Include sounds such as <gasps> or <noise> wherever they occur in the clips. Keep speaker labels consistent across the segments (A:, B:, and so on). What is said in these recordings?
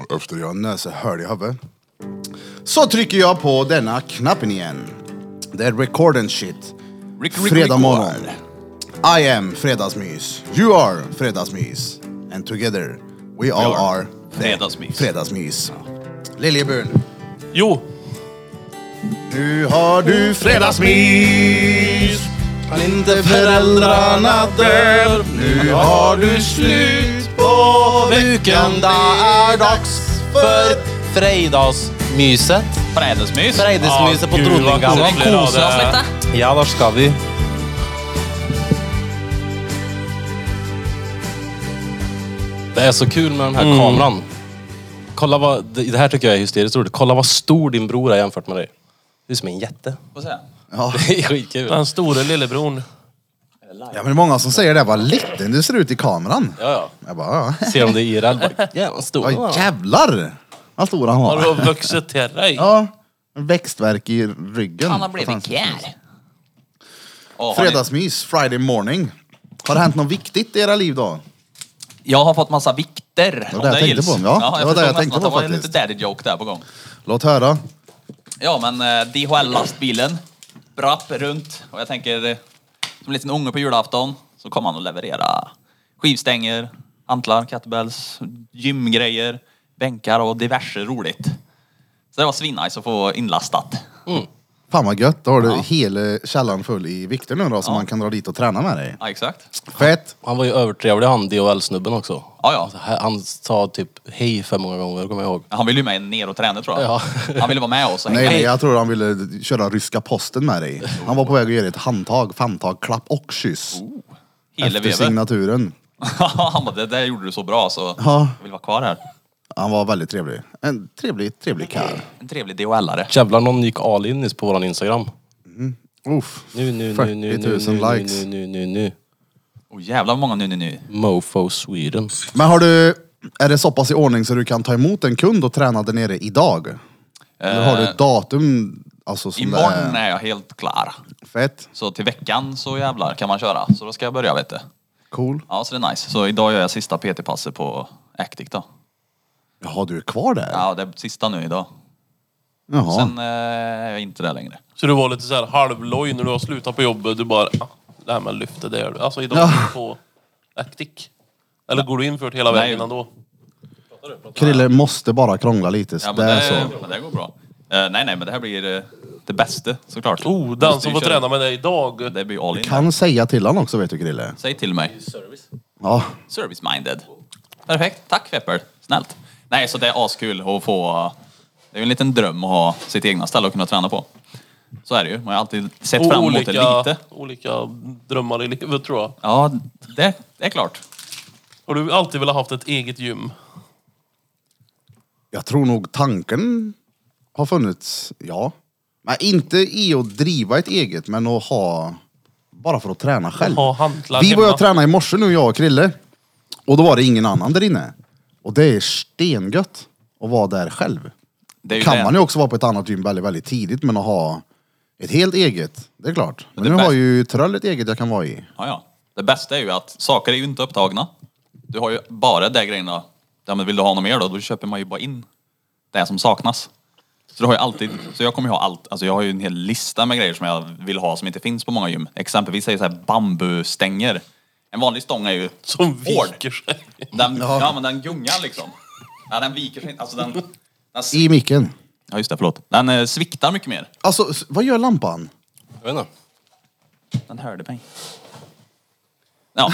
A: Och efter jag nösa hål i huvudet så trycker jag på denna knappen igen. Det är record and shit.
B: Rick, rick,
A: Fredag
B: rick,
A: morgon.
B: rick.
A: I am fredagsmys. You are fredagsmys. And together we all
B: are
A: are
B: fredagsmys.
A: fredagsmys. Liljeburn,
B: Jo,
A: nu har du fredagsmys. Kan inte föräldrarna dör. Nu har du slut på veckan. Det är dags för
C: fredagsmyset.
B: fredagsmys.
C: Fredagsmyset
B: Ja,
C: på
B: gud, vad
C: Drottninggatan.
B: coolt det blir av
D: Kosa oss
B: det.
D: lite.
C: Ja, var ska vi? Det är så kul med den här kameran. Kolla vad, det det här tycker jag är hysteriskt roligt. Kolla vad stor din bror är jämfört med dig. Du är som en jätte.
B: Får se.
A: Ja,
C: Det är skitkul. Ja,
D: Den store lillebron.
A: ja, men det är många som säger det. Vad liten du ser ut i kameran.
C: ja.
A: Jag bara, ja.
C: Se om det är IRL. <laughs> Bara, Jävlar vad stor den
A: Vad
C: var.
A: jävlar vad stor han
D: Har
A: var.
D: du vuxit till dig?
A: Ja, en växtverk i ryggen.
D: Han har
A: Att
D: blivit kär.
B: Åh, har ni-
A: Fredagsmys, Friday morning. Har det hänt något viktigt i era liv då?
B: Jag har fått massa vikter.
A: var
B: om
A: det jag tänkte
B: gills.
A: på. Ja, det var det jag
B: förstår
A: tänkte
B: nästan
A: på
B: att Det var en
A: faktiskt.
B: liten daddy joke där på gång.
A: Låt höra.
B: Ja, men eh, DHL-lastbilen brapp runt och jag tänker eh, som en liten unge på julafton så kom han och leverera skivstänger, antlar, kettlebells, gymgrejer, bänkar och diverse roligt. Så det var svinnice att få inlastat.
A: Fan vad gött, då har du hela källaren full i vikter nu då som man kan dra dit och träna med dig.
B: Ja, exakt.
A: Fett!
C: Han var ju övertrevlig han, DHL-snubben också.
B: Ja, ja.
C: Så här- Han sa typ hej för många gånger, kommer jag ihåg.
B: Han ville ju med ner och träna tror jag.
C: Ja.
B: <laughs> Han ville vara med oss och
A: Nej,
B: hänga.
A: nej, jag tror han ville köra ryska posten med dig. Han var på väg att göra ett handtag, famntag, klapp och kyss.
B: Hela
A: efter
B: <laughs> vevet.
A: signaturen.
B: han bara, det där gjorde du så bra så
A: Ja.
B: jag vill vara kvar här.
A: Han var väldigt trevlig. En trevlig, trevlig karl.
B: En trevlig DHL-are.
C: Jävlar, någon gick all in nyss på våran Instagram.
A: Uff,
C: Nu, nu, nu,
A: 40
C: nu,
A: 000
C: nu, nu,
A: likes.
C: nu, nu, nu, nu.
B: Åh jävlar vad många nu nu nu.
C: Mofo Sweden.
A: Men har du, är det så pass i ordning så du kan ta emot en kund och träna där nere idag? Eller har du
C: Eh,
A: ett datum? Alltså som det
B: Imorgon
A: är
B: är jag helt klar.
A: fett,
B: Så till veckan så jävlar kan man köra. Så då ska jag börja vet du.
A: cool.
B: Ja så det är nice. Så idag gör jag sista PT-passet på Actic då.
A: Jaha, du är kvar där?
B: Ja det är sista nu idag.
A: Jaha.
B: Sen eh, är jag inte där längre.
D: Så du var lite såhär halvloj när du har slutat på jobbet. Du bara, ah, det här med lyftet, det gör du. Alltså idag
A: Ja.
D: är du på Actic. Eller går du inför det hela vägen
B: Nej.
D: ändå?
A: Krille måste bara krångla lite, så
B: Ja,
A: det
B: men,
A: är
B: det,
A: så.
B: men det går bra. Eh, nej nej men det här blir eh, det bästa såklart.
D: Oh, den
B: Måste
D: som
B: ju
D: får
B: köra.
D: träna med dig idag.
B: Det blir all in.
A: Kan säga till han också vet du Krille.
B: Säg till mig.
A: Ja.
B: Service minded. Perfekt. Tack Feppel. Snällt. Nej så det är askul att få. Det är ju en liten dröm att ha sitt egna ställe att kunna träna på. Så är det ju. Man har alltid sett
D: Och
B: fram emot det
D: olika,
B: lite.
D: olika drömmar i livet tror jag.
B: Ja, det, det är klart.
D: Har du alltid velat haft ett eget gym?
A: Jag tror nog tanken har funnits, ja. Men inte i att driva ett eget, men att ha, bara för att träna själv.
D: Ha hantlar
A: Vi var ju
D: hemma.
A: och tränade i morse nu, jag och Krille. Och då var det ingen annan där inne. Och det är stengött att vara där själv.
B: Det är ju
A: kan
B: det.
A: man ju också vara på ett annat gym väldigt, väldigt tidigt, men att ha ett helt eget, det är klart. Men
B: det
A: nu har
B: bästa-
A: ju Tröll ett eget jag kan vara i.
B: Ja, ja. Det bästa är ju att saker är ju inte upptagna. Du har ju bara de grejerna. Ja, men vill du ha något mer då? Då köper man ju bara in det som saknas. Så du har ju alltid, så jag kommer ju ha allt, alltså jag har ju en hel lista med grejer som jag vill ha som inte finns på många gym. Exempelvis är ju så här bambustänger. En vanlig stång är ju
D: Som
B: hård.
D: viker sig. <laughs>
B: Den,
A: Ja.
B: ja. men den gungar liksom. Ja, den viker sig inte, alltså den... den s-
A: I micken.
B: ja just det, förlåt. Den eh, sviktar mycket mer.
A: Alltså, s- vad gör lampan?
C: Jag vet inte.
B: Den hörde mig. Ja,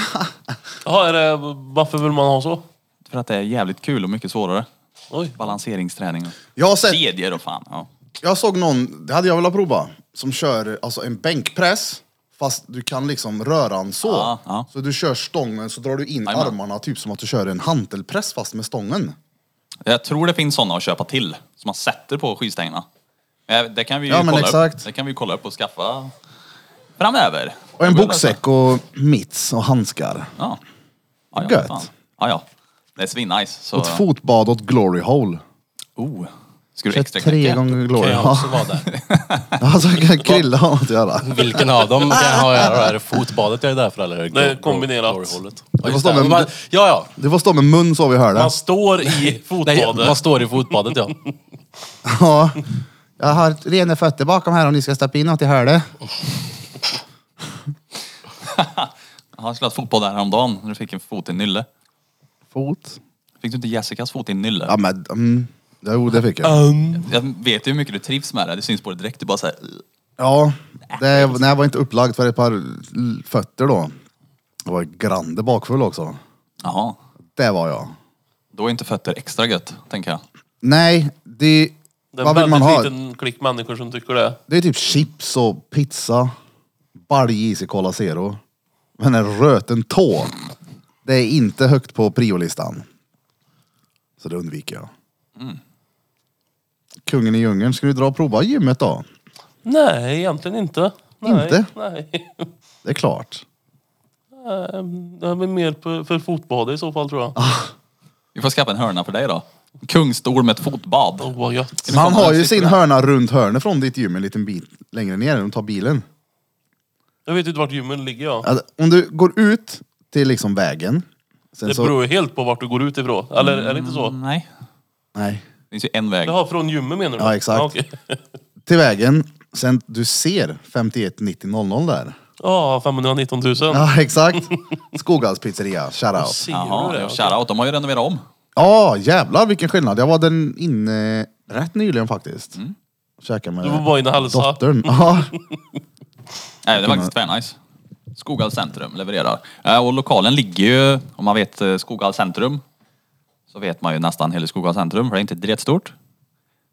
D: Jaha, är det, varför vill man ha så?
B: för att det är jävligt kul och mycket svårare.
D: Oj.
B: Balanseringsträning och
A: Jag har sett,
B: kedjor och fan. Ja.
A: jag såg någon, det hade jag velat prova, som kör alltså en bänkpress, fast du kan liksom röra den så.
B: Ja, ja.
A: Så du kör stången, så drar du in
B: Jajamän.
A: armarna, typ som att du kör en hantelpress fast med stången.
B: Jag tror det finns sådana att köpa till, som man sätter på skivstängerna. Eh, Det kan vi ju
A: Ja, men
B: kolla
A: exakt.
B: upp. Det kan vi kolla upp och skaffa framöver.
A: Och en boksäck
B: alltså-
A: och mitts och handskar.
B: Ja. Ja, ja,
A: Gött.
B: fan. ja, ja. Det är svinnice. Så...
A: Och ett fotbad och ett glory hole.
B: Oh. Ska du extra
A: Tre gånger
C: Kan
A: Glory.
C: jag
A: Ja.
C: också vara där.
A: Alltså kan Krille ha något att göra.
C: Vilken av dem kan jag ha att göra? Är det fotbadet jag är där för eller? är
D: Nej,
C: glo-
D: kombinerat.
C: glory-hållet? Ja,
A: får
C: just
A: stå
C: det.
A: med-
C: Man- Ja, ja.
A: Du får stå med mun så vi hör det.
D: Man står i
C: Nej, man
D: fotbadet.
C: står i fotbadet ja.
A: Ja. Jag har rena fötter bakom här om ni ska steppa in något i hörde.
B: Han spelat fotboll där häromdagen när du fick en fot i nylle.
A: Fot.
B: Fick du inte Jessicas fot i nylle?
A: Ja men, mm. Jo det fick jag.
B: Jag vet ju hur mycket du trivs med det. Det syns på dig direkt. Du bara såhär...
A: Ja,
D: Äh,
A: det, nej, jag var inte upplagd för ett par l- fötter då. Jag var grande bakfull också.
B: Jaha.
A: Det var jag.
B: Då är inte fötter extra gött, tänker jag.
A: Nej, det,
D: Det är
A: vad
D: en
A: vill
D: väldigt
A: man ha?
D: liten klick människor som tycker det.
A: Det är typ chips och pizza, balj is i Cola Zero. Men en röten tå, det är inte högt på priolistan. Så det undviker jag.
D: Mm.
A: Kungen i djungeln, ska du dra och prova gymmet då?
D: Nej, egentligen inte. Nej,
A: Inte?
D: Nej.
A: Det är klart.
D: Ehm, Det är väl mer på- för fotbadet i så fall tror jag.
A: Ah.
B: Vi får skaffa en hörna för dig då. Kungstol med ett fotbad.
D: Åh, vad gött.
A: Man har ju sin hörna runt hörnet från ditt gym en liten bit längre ner, de tar bilen.
D: Jag vet inte vart gymmen ligger jag.
A: Alltså, om du går ut till liksom vägen. Sen
D: Det
A: så, Mm.
D: beror ju helt på vart du går ut ifrån. Eller är det inte så?
B: Nej.
A: Nej.
B: Det finns ju en väg.
D: Jaha, från gymmet menar du?
A: Ja, exakt.
D: Ja, okej.
A: Till vägen. Sen du ser 51 90 00 där.
D: Ja, 519 000.
A: Ja <laughs> exakt. Skoghals pizzeria, shoutout.
D: Ser
B: Jaha,
D: du det?
B: ja, shoutout. De har ju renoverat om.
A: Ja jävlar vilken skillnad. Jag var den inne rätt nyligen faktiskt. Käkade med
D: Du var bara inne och hälsade.
A: dottern. Ja.
B: Nej, det är faktiskt tvärnice. Skoghall centrum levererar. Eh, Och lokalen ligger ju, om man vet eh, Skoghall centrum, så vet man ju nästan hela Skoghall centrum, för det är inte dretstort.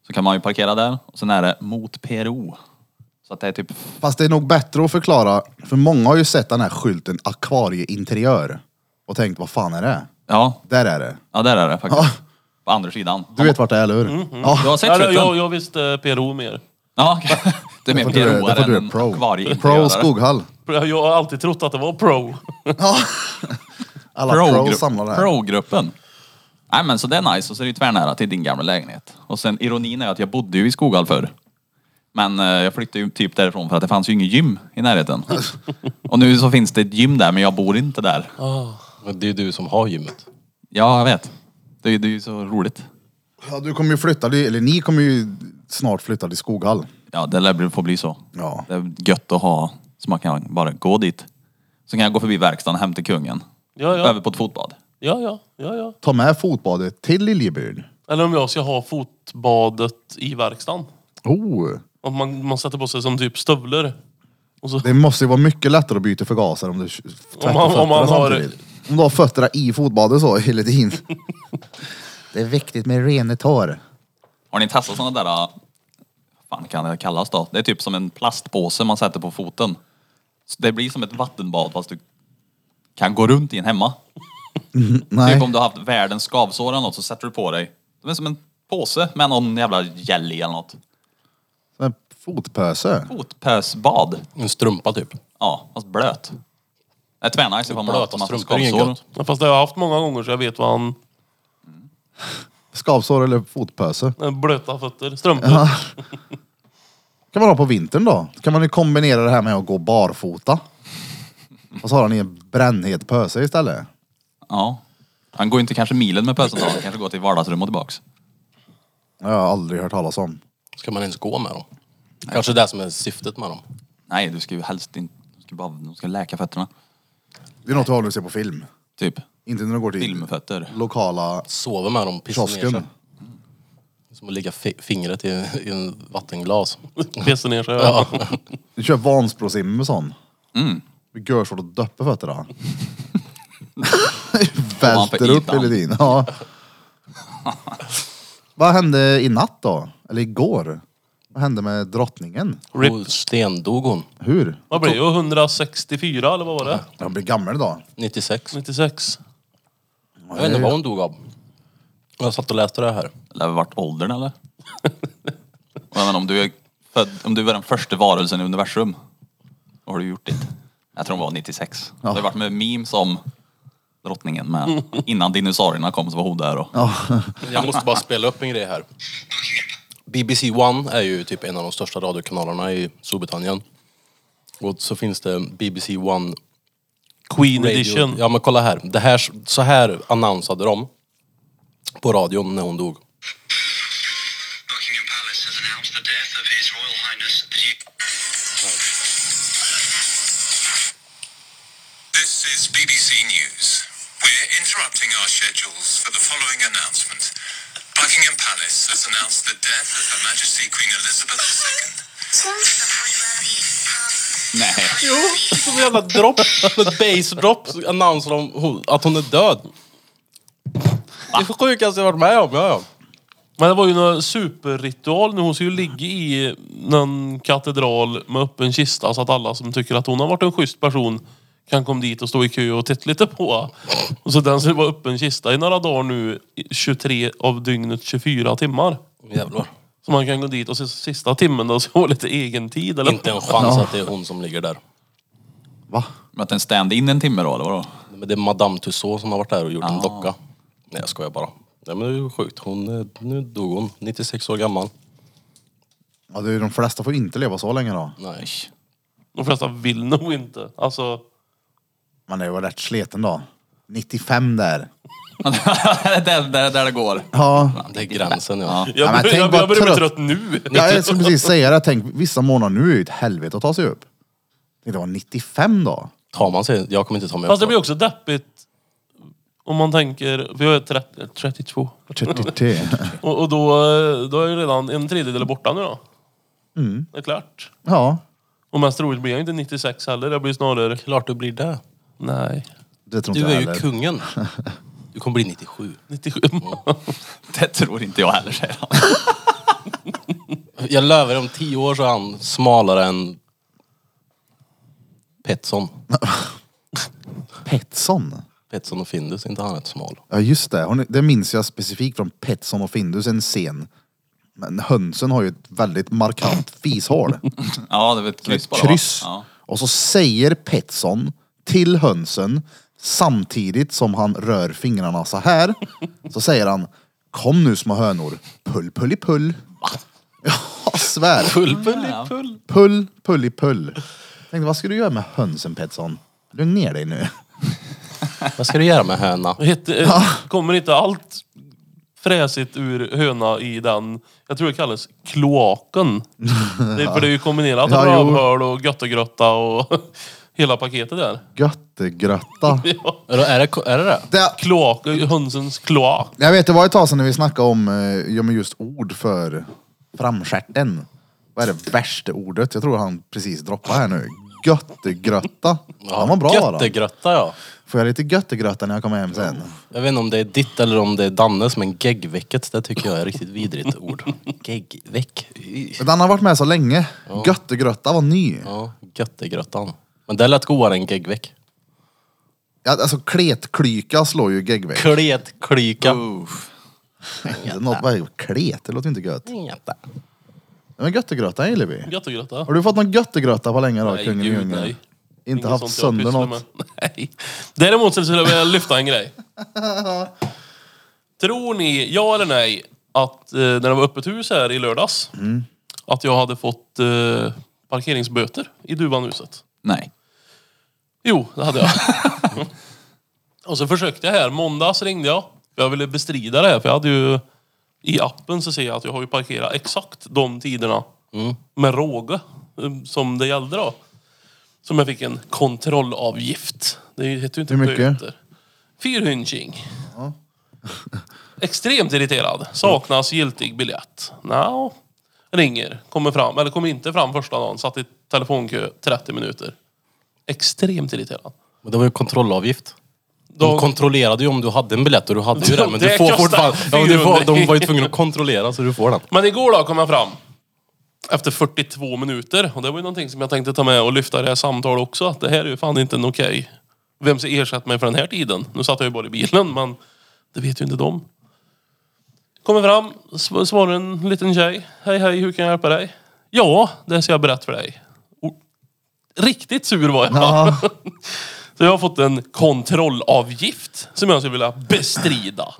B: Så kan man ju parkera där. Och sen är det mot PRO. Så att det är typ,
A: Fast det är nog bättre att förklara. För många har ju sett den här skylten akvarieinteriör. Och tänkt vad fan är det?
B: ja,
A: Där är det.
B: ja där är det faktiskt. På andra sidan.
A: Du vet vart det är eller hur? Ja.
B: Du har sett
D: Ja,
B: skylten?
D: jag, jag visste PRO mer.
B: Ja, okej. <laughs> Det är mer
A: Där får du- där får
B: PRO-are
A: du
B: än
A: pro.
B: akvarieinteriörare.
A: Pro Skoghall.
D: Jag har alltid trott att det var pro.
A: Alla
B: Pro-grupp-
A: pros samlar det här.
B: Pro-gruppen. Nej men så det är nice och så är det ju tvärnära till din gamla lägenhet. Och sen ironin är att jag bodde ju i Skoghall förr. Men eh, jag flyttade ju typ därifrån för att det fanns ju inget gym
A: <laughs>
B: i närheten. och nu så finns det ett gym där men jag bor inte där.
C: Men det är ju du som har gymmet.
B: Ja jag vet. Det, är ju- det är ju så roligt.
A: Ja, du kommer ju flytta, dig- eller ni kommer ju snart flytta till Skoghall.
B: Ja det lär bli- få bli så.
A: Ja.
B: Det är gött att ha så man kan bara gå dit. Så kan jag gå förbi verkstaden och hämta kungen.
D: Ja, ja.
B: Över på ett fotbad.
D: Ja, ja, ja, ja.
A: Ta med fotbadet till Liljebyn.
D: Eller om jag ska ha fotbadet i verkstaden.
A: Oh,
D: Om man, man sätter på sig som typ stövlar. Och så,
A: det måste ju vara mycket lättare att byta förgasare om du tvättar
D: Om man- om
A: fötterna
D: man har-
A: samtidigt. Om du har fötterna i fotbadet så hela tiden. <laughs> det är viktigt med rena tår.
B: Har ni testat sådana där, äh, fan kan det kallas då? Det är typ som en plastpåse man sätter på foten. Så det blir som ett vattenbad fast du kan gå runt i en hemma.
A: Nej,
B: Typ om du har haft världens skavsår eller något så sätter du på dig. Det är som en påse med någon jävla jelly eller något.
A: som en fotpöse.
B: Fotpösbad.
C: En strumpa typ.
B: Ja, fast blött. Det är tvärnice ifall man har haft
C: Blöta
B: massa
C: strumpor är inget
B: skavsår.
C: gott.
D: fast det har jag haft många gånger så jag vet vad han...
A: Skavsår eller fotpöse.
D: eh, Blöta fötter, strumpor.
A: kan man ha på vintern då. Kan man ju kombinera det här med att gå barfota. Och så har han i en brännhet pöse istället.
B: Ja. Han går ju inte kanske milen med pösen då. Han kanske går till vardagsrummet och tillbaks.
A: Det har jag aldrig hört talas om.
C: Ska man ens gå med dem? Kanske det som är syftet med dem.
B: Nej, du ska ju helst inte... Du ska bara du ska läka fötterna.
A: Det är något vi har att se på film.
B: Typ.
A: Inte när de går till
B: Filmfötter.
A: lokala...
C: Sova med dem, pissa ner
A: Kiosken.
C: sig. Som att lägga fi- fingret i, i en vattenglas.
D: Pissar ner sig.
C: <laughs> Ja.
A: Du kör Vansbrosimmen med sån. Mm. Görsvårt att döppa
C: <laughs>
A: fötterna. <laughs>
B: man för
A: Välter upp
B: ytan.
A: hela tiden.
C: <laughs>
A: Ja. Vad hände i natt då? Eller igår? Vad hände med drottningen?
D: Rip.
C: Och Stendog hon.
A: Hur?
D: Vad blir det? 164 eller vad var det?
A: Jag blir gammal idag.
C: 96.
A: Mm.
D: 96.
C: Jag vet inte vad hon dog av. Jag satt och läste det här.
B: Eller vart åldern eller? <laughs> Jag menar, om du är född, om du är den första varelsen i universum, vad har du gjort ditt? Jag tror hon var 96. Det har varit med memes om drottningen med. Innan dinosaurierna kom så var hon där och...
C: Jag måste bara spela upp en grej här. BBC One är ju typ en av de största radiokanalerna i Storbritannien. Och så finns det BBC One
D: Queen
C: Radio.
D: edition.
C: Ja men kolla här. Det här. Så här annonsade de på radion när hon dog.
E: Buckingham Palace has announced the death of His Royal Highness the Duke.
F: This is BBC News. We're interrupting our schedules for the following announcement. Buckingham Palace has announced the death of Her Majesty Queen Elizabeth II.
B: Nej.
C: Som en jävla dropp, som <laughs> ett bassdropp så annonserar de hon- att hon är död. Det är det sjukaste jag varit med om. Ja, ja.
D: Men det var ju någon superritual nu. Hon ska ju ligga i någon katedral med öppen kista så att alla som tycker att hon har varit en schysst person kan komma dit och stå i kö och titta lite på. Och så den ska vara öppen kista i några dagar nu, i 23 av dygnets 24 timmar.
C: Jävlar.
D: Så man kan gå dit och se sista timmen då och få lite egen tid eller?
C: Inte en chans att det är hon som ligger där.
A: Va?
B: Men att den stand-in en timme då, eller vadå? <laughs>
C: Men det är Madame Tussauds som har varit där och gjort
A: Ah.
C: en docka. Nej jag skojar bara. Nej men det är ju sjukt. Hon, eh, nu dog hon. 96 år gammal.
A: Ja, det är ju de flesta får inte leva så länge då.
C: Nej.
D: De flesta vill nog inte. Alltså,
A: Man är ju rätt sliten då. 95 där.
B: det är där, där, där det går.
A: Ja.
C: Det är gränsen ja.
D: jag,
A: Ja, men
D: börjar-
A: tänk
D: <laughs> jag,
A: vad
D: jag börjar bli
A: trött-
D: trött nu.
A: Ja, jag skulle
C: <laughs>
A: precis säga det. Tänk, vissa månader nu är ju ett helvete att ta sig upp. Det var 95 då.
C: Tar man sig, jag kommer inte ta mig
D: Fast det
C: upp.
D: blir också deppigt om man tänker, för jag är 30, 32.
A: 33.
D: Och, och då, eh, då är ju redan en tredjedel borta nu då.
A: Mm.
D: Det är klart.
A: <laughs> Ja,
D: Och mest troligt blir jag inte 96 heller. Jag blir snarare...
C: Klart du blir det.
D: Nej.
A: det tror
C: Du
A: inte
C: är
A: jag
C: ju
A: heller.
C: kungen. Du kommer bli 97.
D: 97. <laughs>
B: Det tror inte jag heller, säger han.
C: Jag lovar om 10 år så är han smalare än Petson.
A: Petson.
C: Petson och Findus, inte han rätt smal?
A: Ja just det, Hon, det minns jag specifikt från Petson och Findus, en scen. Men hönsen har ju ett väldigt
C: <laughs>
A: markant fishål.
B: Ja, det är väl ett kryss
A: Ett
B: bara. va?
A: kryss.
B: Ja.
A: Och så säger Petson till hönsen samtidigt som han rör fingrarna så
C: <laughs>
A: här. Så säger han Kom nu små hönor, pull pull i pull. <laughs> Ja, svär.
C: Pull, pull,
A: Pull, pull i pull. Tänkte, vad ska du göra med hönsen Petson? Lugn ner dig nu.
C: Vad ska du göra med höna?
D: Hette, eh, Kommer inte allt fräsigt ur höna i den, jag tror det kallas kloaken. Det, är- för det är ju kombinerat med
A: Ja, jo.
D: rövhål och göttegrötta och <laughs> hela paketet där. <laughs>
A: Göttegrötta.
C: Är det är det? Är det, det?
A: <laughs> Det,
D: Kloak, hönsens kloak.
A: Jag vet, det var ett tag sedan när vi snackade om eh, ja, men just ord för framstjärten. Vad är det värsta ordet? Jag tror han precis droppade här nu. Göttegrötta. Han var bra då.
C: Göttegrötta ja.
A: Får jag lite göttegrötta när jag kommer hem sen?
C: Jag vet inte om det är ditt eller om det är Dannes men geggvecket det tycker jag är ett riktigt vidrigt
D: <laughs>
C: ord. Geggveck. Y.
A: Men han har varit med så länge. Göttegrötta var ny.
C: Ja, göttegröttan. Men det lät godare än geggveck.
A: Ja, alltså kletklyka slår ju geggvägg.
C: Kletklyka.
D: Oh.
A: Något, vad är det? klet? Det låter inte gött.
C: Jätte.
A: Nej, Men göttegrötta gillar vi.
D: Göttegrötta.
A: Har du fått någon göttegrötta på länge då?
D: Nej,
A: kungen i
D: gud,
A: djungeln?
D: nej.
A: Inte
D: Inget
A: haft
D: sånt jag
A: sönder
D: pysslar
A: något?
D: med. <laughs> Nej. Däremot så skulle jag vilja lyfta
A: <laughs>
D: en grej. Tror ni, ja eller nej, att eh, när det var öppet hus här i lördags,
A: Mm.
D: att jag hade fått eh, parkeringsböter i Duvanhuset?
B: Nej.
D: Jo, det hade jag.
A: <laughs>
D: och så försökte jag här. Måndags ringde jag. För Jag ville bestrida det här, för jag hade ju... I appen så ser jag att jag har ju parkerat exakt de tiderna
A: Mm.
D: med råge um, som det gällde då. Som jag fick en kontrollavgift. Det heter ju inte
A: Hur mycket?
D: böter. Fyrhunching. <laughs> Extremt irriterad. Saknas giltig biljett. No. Ringer, kommer fram, eller kommer inte fram första dagen. Satt i telefonkö 30 minuter. Extremt irriterad.
C: Men det var ju kontrollavgift. De
D: De-
C: kontrollerade ju om du hade en biljett och du hade ju det. Men
D: Det
C: du får
D: kostar
C: fortfarande... Ja, men du får,
D: 400.
C: de var ju tvungna att kontrollera så du får
D: <laughs>
C: den.
D: Men igår då kom jag fram. Efter 42 minuter. Och det var ju någonting som jag tänkte ta med och lyfta i det här samtalet också. Att det här är ju fan inte en okej. Vem ska ersätta mig för den här tiden? Nu satt jag ju bara i bilen, men det vet ju inte de. Kommer fram, sv- svarar en liten tjej. Hej hej, hur kan jag hjälpa dig? Ja, det ska jag berätta för dig. Och, riktigt sur var jag.
A: Ja.
D: <laughs> Så jag har fått en <laughs> kontrollavgift som jag skulle vilja bestrida.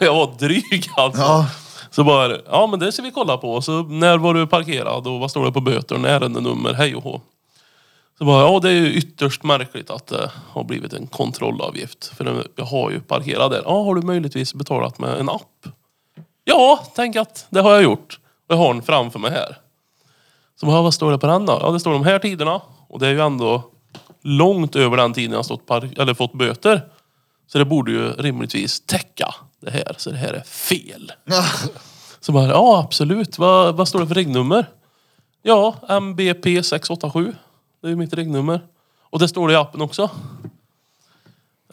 D: jag var dryg alltså.
A: Ja.
D: Så Så bara, ja men det ska vi kolla på. Så när var du parkerad och vad står det på böterna, ärendenummer, hej och hå. Så bara, ja det är ju ytterst märkligt att det har blivit en kontrollavgift. För jag har ju parkerat där. Ja, har du möjligtvis betalat med en app? Ja, tänk att det har jag gjort. Och jag har den framför mig här. Så bara, vad står det på den då? Ja, det står de här tiderna. Och det är ju ändå långt över den tiden jag har stått par- eller fått böter. Så det borde ju rimligtvis täcka det här. Så det här är fel. Så bara, ja absolut. Vad, vad står det för regnummer? Ja, MBP 687. Det är ju mitt regnummer. Och det står det i appen också.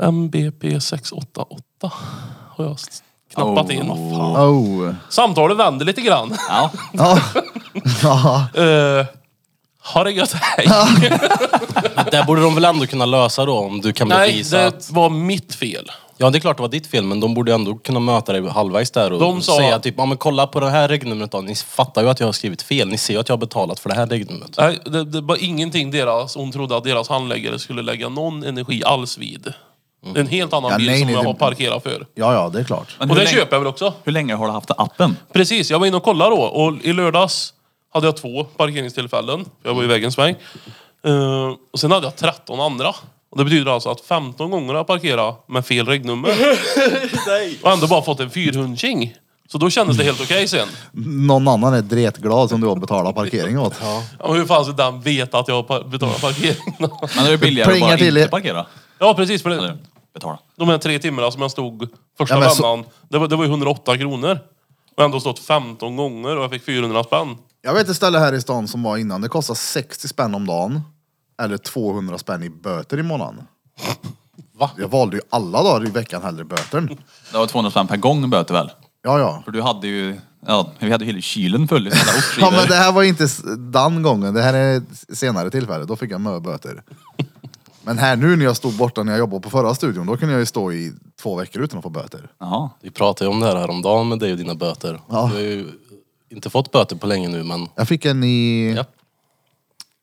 D: MBP 688 har jag s- knappat in.
A: Oh.
D: Samtalet vänder lite grann.
B: Ja.
D: <laughs>
A: Ja. ja.
D: Uh, har det gött, hej.
C: Det borde de väl ändå kunna lösa då om du kan
D: Nej,
C: bevisa att...
D: det var mitt fel.
C: Ja, det är klart det var ditt fel, men de borde ju ändå kunna möta dig halvvägs där och
D: De sa-
C: säga typ, ja men kolla på det här regnumret då. Ni fattar ju att jag har skrivit fel. Ni ser ju att jag har betalat för det här regnumret.
D: Nej, det, det var ingenting deras, hon trodde att deras handläggare skulle lägga någon energi alls vid. En helt annan
A: Ja,
D: bil
A: nej,
D: som
A: nej,
D: jag
A: det-
D: har parkerat för.
A: ja, ja, det är klart.
B: Men
D: Och
B: hur,
D: det
B: länge,
D: köper jag väl också.
B: hur länge har du haft appen?
D: Precis, jag var inne och kollade då och i lördags hade jag två parkeringstillfällen. Jag var iväg en sväng. Eh, och sen hade jag 13 andra. Och det betyder alltså att 15 gånger har jag parkerat med fel <laughs> regnummer. och ändå bara fått en fyrhundsing. Så då kändes det helt okej sen.
A: Någon annan är dretglad som du har betalat parkering åt.
D: Ja, men hur fan ska den veta att jag har par- betalat parkeringen?
B: Men är det billigare att
A: Plingar
B: bara
A: till
B: inte
A: er.
B: parkera?
D: ja precis, för det,
B: Eller betala?
D: de här tre timmarna som jag stod första
A: Ja, men så-
D: vändan, det, var, det var ju 108 kronor. Och ändå stått 15 gånger och jag fick 400 spänn.
A: Jag vet ett ställe här i stan som var innan. Det kostar 60 spänn om dagen. Eller 200 spänn i böter i månaden.
C: Va?
A: Jag valde ju alla dagar i veckan hellre bötern.
B: Det var 200 spänn per gång böter väl?
A: Ja, ja.
B: För du hade ju, ja, vi hade ju hela kylen full
A: <laughs>
B: i sådana där
A: Ja, men
B: ostskivor.
A: det här var inte s- den gången. Det här är ett senare tillfälle. Då fick jag mö böter. Men här nu när jag stod borta när jag jobbade på förra studion, då kunde jag ju stå i två veckor utan att få böter.
B: Jaha.
C: Vi pratade ju om det här häromdagen med dig och dina böter. Du har ju inte fått böter på länge nu, men...
A: Jag fick en i...
C: Ja.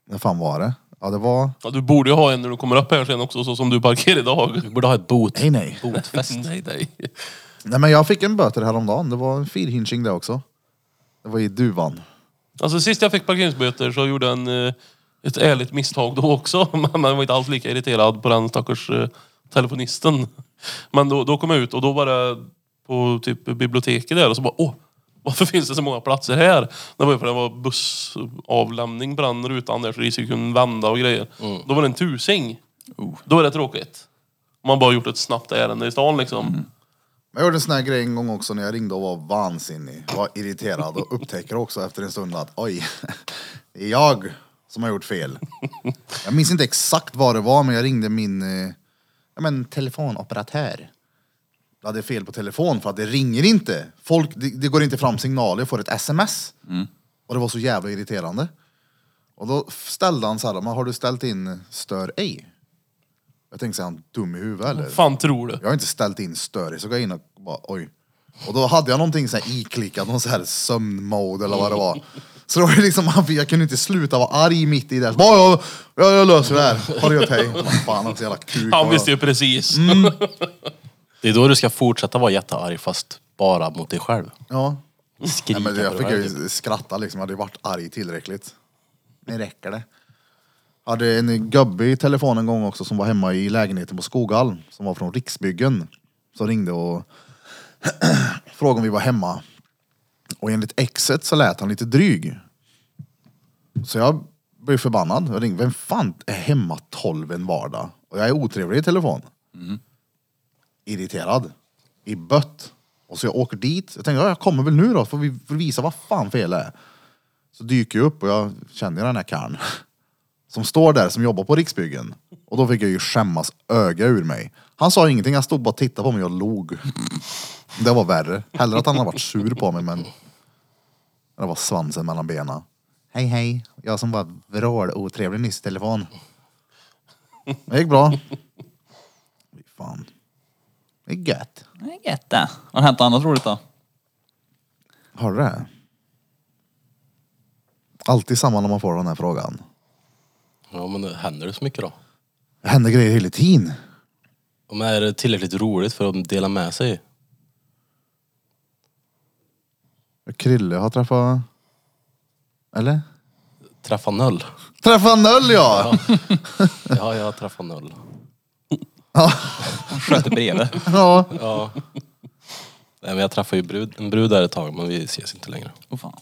A: När fan var det? Ja, det var...
D: Ja, du borde ju ha en när du kommer upp här sen också, så som du parkerar idag.
C: Du borde ha ett bot.
A: Nej, nej.
C: Botfest.
D: <laughs> nej, nej.
A: Nej, men jag fick en böter häromdagen. Det var en firhinching det också. Det var i duvan.
D: Alltså sist jag fick parkeringsböter så gjorde jag en, eh, ett ärligt misstag då också. <laughs> Men man var inte alls lika irriterad på den stackars eh, telefonisten. Men då, då kom jag ut och då var det på typ biblioteket där och så bara åh, varför finns det så många platser här? Det var ju för det var bussavlämning på den rutan där så det kunde vända och grejer. Då var det en tusing. Då är det tråkigt. Om man bara gjort ett snabbt ärende i stan liksom.
A: Jag gjorde en sån här grej en gång också när jag ringde och var vansinnig. Var irriterad och upptäcker också efter en stund att oj, <laughs> det är jag som har gjort fel. Jag minns inte exakt vad det var men jag ringde min eh, ja, men, telefonoperatör. Jag hade fel på telefon för att det ringer inte. Folk, det, det går inte fram signaler, jag får ett sms. Och det var så jävla irriterande. Och då ställde han så här, "Men har du ställt in stör ej? Jag tänkte, är han dum i huvudet eller?
D: Fan tror du?
A: Jag har inte ställt in störig så går jag in och bara oj. Och då hade jag någonting så här iklickat, någon så här sömnmode eller vad det var. Så det var ju liksom, <laughs> jag kunde inte sluta vara arg mitt i det. här. Bara, jag, jag, jag löser det här, ha det gött hej. Vad Fan också jävla kuk.
D: Han visste ju precis.
C: Det är då du ska fortsätta vara jättearg, fast bara mot dig själv.
A: Ja.
C: Skrika
A: Nej, men
C: på typ.
A: jag
C: dig
A: fick
C: själv,
A: ju skratta liksom, jag hade ju varit arg tillräckligt. Nu räcker det. Jag hade en gubbe i telefon en gång också som var hemma i lägenheten på Skoghall, som var från Riksbyggen. Som ringde och <clears throat> frågade om vi var hemma. Och enligt exet så lät han lite dryg. Så jag blev förbannad. Jag ringde, vem fan är hemma 12 en vardag? Och jag är otrevlig i telefon. Irriterad. I bött. Och så jag åker dit. Jag tänkte, ja, jag kommer väl nu då, så får vi får visa vad fan fel är. Så dyker jag upp och jag känner ju den här karln. <laughs> Som står där, som jobbar på Riksbyggen. Och då fick jag ju skämmas öga ur mig. Han sa ingenting, han stod bara och tittade på mig och log. Det var värre. Hellre att han hade varit sur på mig, men... Det var svansen mellan benen. Hej hej, jag som var vrål-otrevlig nyss i telefon. Det gick bra. Fy fan. Det är gött.
B: Nej, jätte. Har det hänt något annat roligt då?
A: Har du det? Alltid samma när man får den här frågan.
C: Ja, men det händer det så mycket då?
A: Det händer grejer hela tiden.
C: Om är det tillräckligt roligt för att dela med sig?
A: Krille har träffat... Eller?
C: Träffa noll.
A: Träffat Null ja!
C: Ja, jag träffar noll.
B: Sköter bredvid.
A: <laughs> ja.
C: Ja. Nej, men jag träffade ju brud, en brud där ett tag, men vi ses inte längre.
B: Åh fan.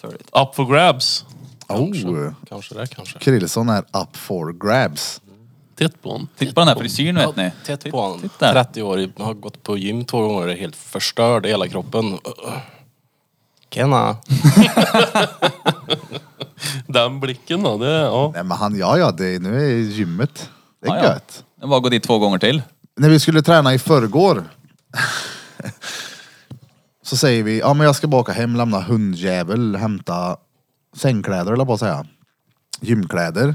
B: Törligt.
D: Up for grabs.
A: Oh.
C: Kanske det, kanske.
A: Krillson är up for grabs.
D: Titt på hon.
B: Titta på den här frisyren <laughs> vet ni.
C: Tätt på honom.
B: där.
C: 30 år, har gått på gym två gånger, är helt förstörd i hela kroppen. Tjena!
B: <laughs>
D: Den blicken då, det, ja.
A: Nej men han, ja ja, det, är- nu är i gymmet. Det är
B: Ja, ja.
A: gött.
B: Det var att gå dit två gånger till.
A: När vi skulle träna i förrgår så säger vi, ja men jag ska baka hem, lämna hundjävel, hämta sängkläder eller på att säga. Gymkläder.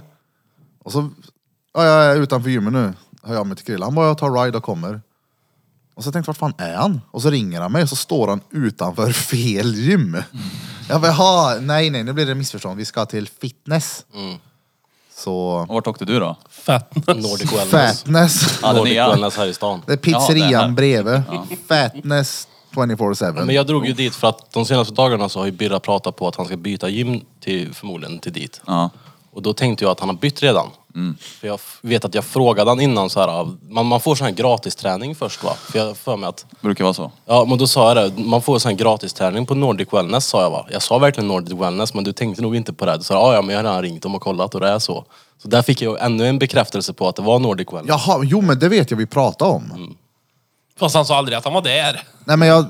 A: Och så, ja jag är utanför gymmet nu, hör jag mig till Krille. Han bara, jag tar ride och kommer. Och så tänkte jag, vart fan är han? Och så ringer han mig och så står han utanför <laughs> fel gym. Jag bara, jaha, nej nej, nu blir det missförstånd. Vi ska till fitness. Så,
B: Och vart åkte du då?
D: Fatness.
C: Nordic Wellness.
A: fatness.
B: Ja, det
C: Nordic
B: nya.
C: Wellness här i stan.
A: Det är
B: Ja, det är här.
A: pizzerian bredvid. Fatness 24-7.
C: Men jag drog ju dit för att de senaste dagarna så har ju Birra pratat på att han ska byta gym till, förmodligen till dit.
B: Ja. Mm.
C: Och då tänkte jag att han har bytt redan. För jag f- vet att jag frågade han innan så här, man, man får sån här gratisträning först va? För jag har för mig att,
B: Brukar vara så.
C: ja men då sa jag det, man får sån här gratisträning på Nordic Wellness sa jag va? Jag sa verkligen Nordic Wellness men du tänkte nog inte på det. Du sa "Ja, ja men jag har redan ringt dem och kollat och det är så. Så där fick jag ännu en bekräftelse på att det var Nordic Wellness.
A: Jaha, jo men det vet jag vi pratade om.
B: Mm.
D: Fast han sa aldrig att han var där.
A: Nej men jag,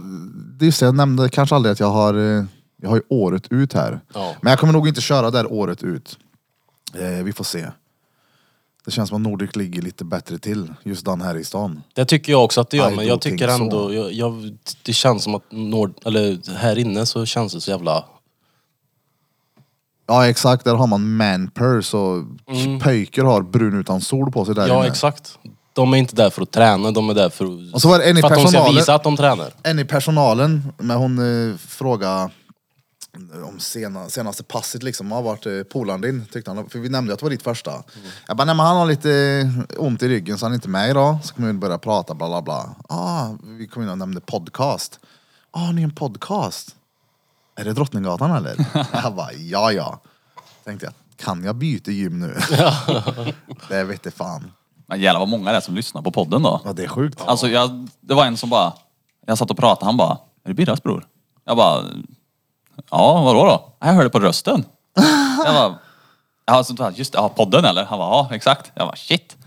A: det är just det, jag nämnde kanske aldrig att jag har, eh, jag har ju året ut här.
C: Ja.
A: Men jag kommer nog inte köra där året ut. Eh, vi får se. Det känns som att Nordic ligger lite bättre till just den här i stan.
C: Det tycker jag också att det gör,
A: I
C: men
A: don't
C: jag tycker
A: think so.
C: ändå, jag, jag, det känns som att nord, eller här inne så känns det så jävla...
A: Ja exakt, där har man manpurse och
B: Mm.
A: pöjker har brun utan sol på sig där
C: ja
A: inne.
C: exakt. De är inte där för att träna, de är där för, att-
A: Och så var det en i
C: för att de ska
A: personalen-
C: visa att de tränar.
A: en i personalen, men hon eh, frågade om sena, senaste passet liksom, har varit eh, polaren din? Tyckte han, för vi nämnde ju att det var ditt första. Jag bara, nej men han har lite eh, ont i ryggen så han är inte med idag. Så kom vi in och började prata bla bla bla. Ah, vi kom in och nämnde podcast. Ah, har ni är en podcast? Är det Drottninggatan eller? <laughs> jag bara, ja ja. Tänkte jag, kan jag byta gym <laughs> nu? det vete fan.
B: Men jävlar vad många det är som lyssnar på podden då.
A: Ja det är sjukt.
B: Alltså jag, det var en som bara, jag satt och pratade, han bara, är det Birras bror? Jag bara, ja vadå då? Jag hörde på rösten. Jag bara, ja, så, just det, ja, podden eller? Han bara, ja exakt. Jag bara, shit.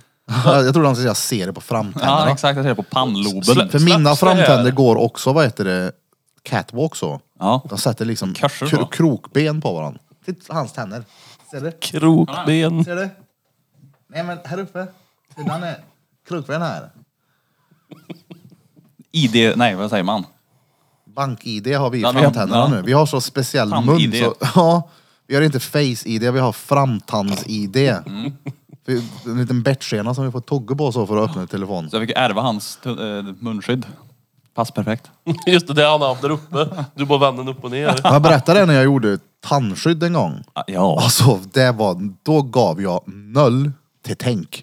A: jag trodde han skulle säga, se det på
B: Ja
A: framtänderna.
B: exakt, jag ser det på pannloben.
D: Slä-
A: För mina
D: Slaps det här.
A: framtänder går också, vad heter det, catwalk så.
B: Ja.
A: De sätter liksom
B: Kurser
A: kro-
B: så.
A: krokben på varandra. Titta hans tänder. Ser du?
D: Krokben.
A: Ser du? Nej men här uppe. Sidan är krokben här.
B: ID, nej vad säger man?
A: Bank-id har vi i
B: Ja, vi har-
A: framtänderna
B: ja.
A: nu. Vi har så speciell
B: Fram-ID.
A: mun. Så, <laughs> ja, vi har inte face-id, vi har framtands-id.
B: Mm.
A: Vi- En liten bettskena som vi får tugga på så för att öppna telefonen.
B: Så jag fick ärva hans t- eh, munskydd. Pass perfekt.
A: Ah.
D: Just det, det han har haft där uppe. Du bara vänder den upp och ner.
A: <laughs> Jag berättade det när jag gjorde tandskydd en gång.
B: Ja,
A: Alltså, det var, då gav jag noll till tänk.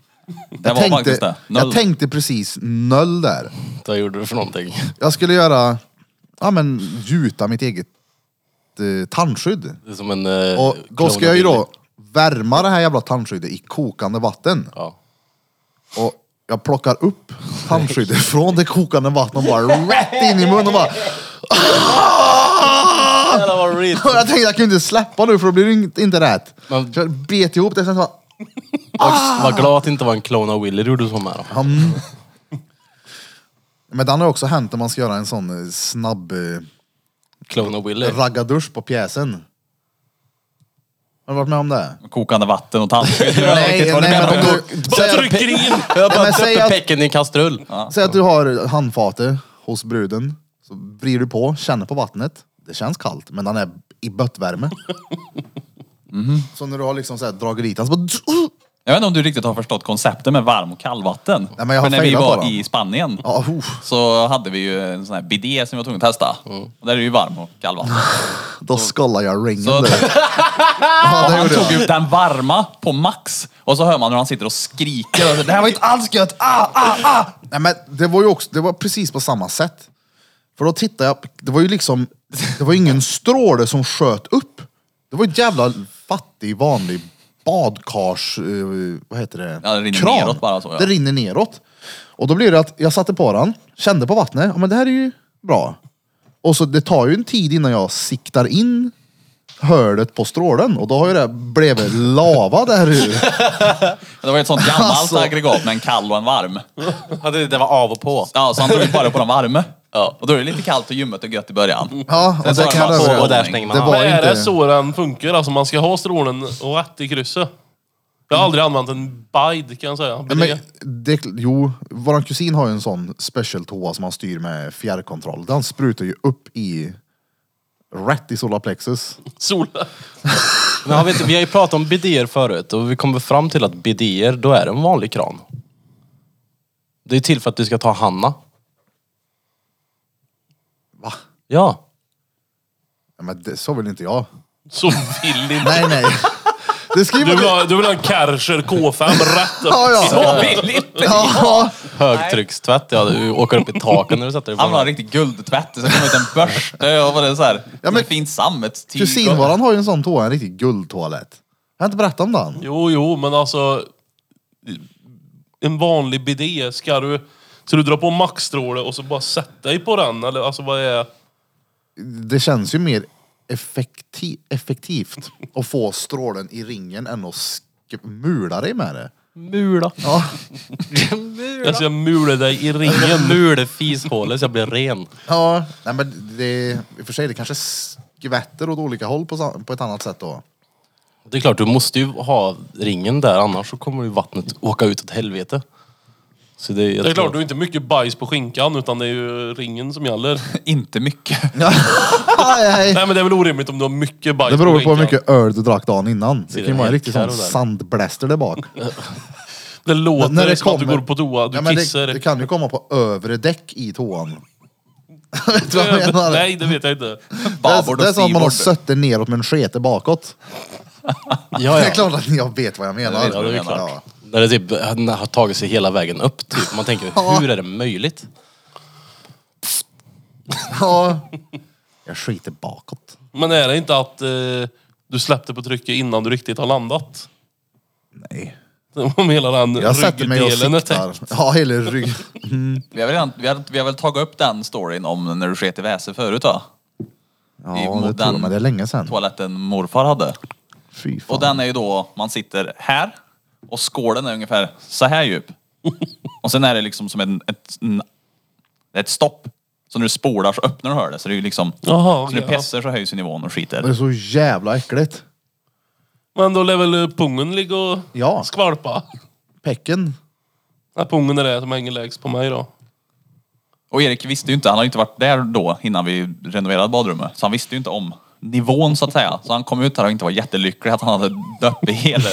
B: det var faktiskt det.
A: jag
B: Noll.
A: tänkte precis noll där.
C: Vad gjorde du för någonting?
A: Jag skulle göra, ja men gjuta mitt eget eh, tandskydd.
C: Det är som en... eh,
A: Och då
C: clone
A: ska jag ju
C: av
A: då värma det här jävla tandskyddet i kokande vatten.
C: Ja.
A: Och jag plockar upp tandskyddet från det kokande vattnet och bara rätt in i munnen och bara <laughs>
C: Jävlar vad reet.
A: Och jag tänkte jag kunde inte släppa nu för då blir det inte- inte rätt.
C: Men-
A: Så jag bet ihop det sen så bara,
C: Vad glad att det inte var en klon av Willy du gjorde som här. då.
A: men det har också hänt när man ska göra en sån eh, snabb eh,
C: Klon av Willy.
A: raggardusch på pjäsen. Har du varit med om det?
B: Kokande vatten och tandskydd.
A: <laughs> Nej,
B: Var det
A: nej,
B: med
A: men
B: på-
A: om du, säg, att,
D: Trycker in!
A: <laughs>
C: Jag bara
A: men säg
C: döpte
A: att-
C: pecken i en kastrull.
A: säg att du har handfatet hos bruden, så vrider du på, känner på vattnet. Det känns kallt, men den är i böttvärme.
B: Mhm.
A: Så när du har liksom så här, dragit dit den så bara...
B: Jag vet inte om du riktigt har förstått konceptet med varm och kallvatten.
A: Nej, men jag har
B: För när vi
A: failat
B: var
A: på dem.
B: i Spanien
A: Ja, oh,
B: så hade vi ju en sån här bidé som vi var tvungna att testa. Och där är det ju varm och
A: <laughs>
B: kallvatten.
A: då skollar jag ringen
B: <laughs> Så-
A: där. Ja, det
B: Han
A: gjorde
B: tog
A: jag.
B: ut den varma på max och så hör man hur han sitter och skriker. Och så, det här var inte alls gött! Ah, ah, ah.
A: Nej, men det var ju också, det var precis på samma sätt. För då tittade jag, det var ju liksom Det var ingen stråle som sköt upp. Det var ett jävla fattig vanlig badkars... eh, vad heter det?
B: Ja, det rinner neråt bara så, ja.
A: Det rinner neråt. Och då blir det att jag satte på den, kände på vattnet. Ja men det här är ju bra. Och så det tar ju en tid innan jag siktar in hörlet på strålen och då har ju det blivit lava där ur.
B: Det var ju ett sånt gammalt
A: Alltså.
B: aggregat med en kall och en varm.
C: Ja, det, det var av och på.
B: Ja, så han drog ju bara på den varme. Ja. Och då är det lite kallt och ljummet och gött i början.
A: Ja, och
B: Sen
A: det
B: tar
A: kan
B: man
A: jag
B: på
A: överraska.
C: och där stänger man
A: Det
C: av.
A: var
D: Men är
A: inte-
D: det så den funkar? Alltså man ska ha strålen rätt i krysset. Jag har aldrig använt en bide kan jag säga.
A: Nej,
D: Bre.
A: Men, det, jo, våran kusin har ju en sån special toa som han styr med fjärrkontroll. Den sprutar ju upp i rätt i solarplexus.
D: Sol. <laughs>
C: Men har vi, inte- vi har ju pratat om bidéer förut och vi kommer fram till att bidéer, då är det en vanlig kran. Det är till för att du ska ta Hanna.
A: Va?
C: Ja.
A: Nej, men det, så vill inte jag.
D: Så vill inte.
A: Nej, nej. <laughs> Det
D: Du
A: skriver
D: vill, ha, du vill ha en Kärcher K5 rätt upp.
A: Ja,
B: <laughs>
A: ja. ja.
C: Högtryckstvätt, ja. Du åker upp i taken när du sätter dig
B: Han
C: på
B: var en
C: den.
B: riktig guldtvätt. Sen kom ut en börste och var det så här,
A: Ja, men-
B: fint sammetstyg.
A: Kusin våran har ju en sån toa, en riktig guldtoalett. Jag har inte berättat om den.
D: Jo, jo, men alltså. En vanlig bidé, ska du... Ska du dra på maxstråle och så bara sätta dig på den? Eller alltså vad är...
A: Det känns ju mer effekti- effektivt att få strålen i ringen än att sk- mula dig med det.
C: Mula.
A: Ja.
D: Jag ska mula dig i
C: Jag
D: ringen.
C: mulade fishålet så jag blev ren.
A: Ja, nej men det, i och för sig det kanske skvätter åt olika håll på, sam- på ett annat sätt då.
C: Det är klart, du måste ju ha ringen där annars så kommer ju vattnet åka ut åt helvete. Så det, jag
D: Det är
C: tror-
D: klart, du är inte mycket bajs på skinkan utan det är ju ringen som gäller.
B: Inte
A: <laughs>
B: mycket.
A: Nej,
D: Nej men det är väl orimligt om du har mycket bajs
A: Det beror på
D: skinkan.
A: hur mycket öl du drack dagen innan. Det kan ju vara en riktig
C: Karo
A: sån
C: där.
A: sandbläster där bak.
D: Det låter
A: När det
D: som att du
A: kommer-
D: går på toa, du
A: Ja, men
D: kissar.
A: det, det kan ju komma på övre däck i toan. <laughs> Vet
D: <laughs>
A: du vad jag menar?
D: Nej, det vet jag inte.
A: det
B: Babord
A: är,
B: och
A: det är som att man har
B: styrbord.
A: suttit neråt men sketer bakåt.
C: ja,
A: Det är
C: ja.
A: klart att jag vet vad jag menar.
B: Ja, det är klart.
A: Ja.
C: När det typ har tagit sig hela vägen upp. Typ.
A: <laughs>
C: Man tänker, hur är det möjligt?
A: Ja. Jag skiter bakåt.
D: Men är det inte att eh, du släppte på trycket innan du riktigt har landat? <laughs>
A: Nej.
D: Om hela den
A: Jag sätter mig och
D: ryggdelen är täckt.
A: siktar. Ja, hela ryggen.
B: Vi har, väl redan, vi, har, vi har väl tagit upp den storyn om när du sket i väse förut va?
A: Ja,
B: I
A: det tror
B: modern
A: jag, men det är länge sedan.
B: Toaletten morfar hade.
A: Fy fan.
B: Och den är ju då, man sitter här och skålen är ungefär så här djup. Och sen är det liksom som en, ett, en, ett stopp. Så när du spolar så öppnar du hörnet. Så det är ju liksom,
D: Jaha,
B: så när du
D: ja.
B: pissar så höjs ju nivån och
A: Det
B: skiter.
A: är så jävla äckligt.
D: Men då lär väl eh, pungen ligga och
A: Ja.
D: skvalpa?
A: Pecken.
D: Nej, pungen är det som hänger lägst på mig då.
B: Och Erik visste ju inte, han har ju inte varit där då innan vi renoverade badrummet. Så han visste ju inte om nivån så att säga. Så han kom ut här och inte var jättelycklig att han hade dött i hela...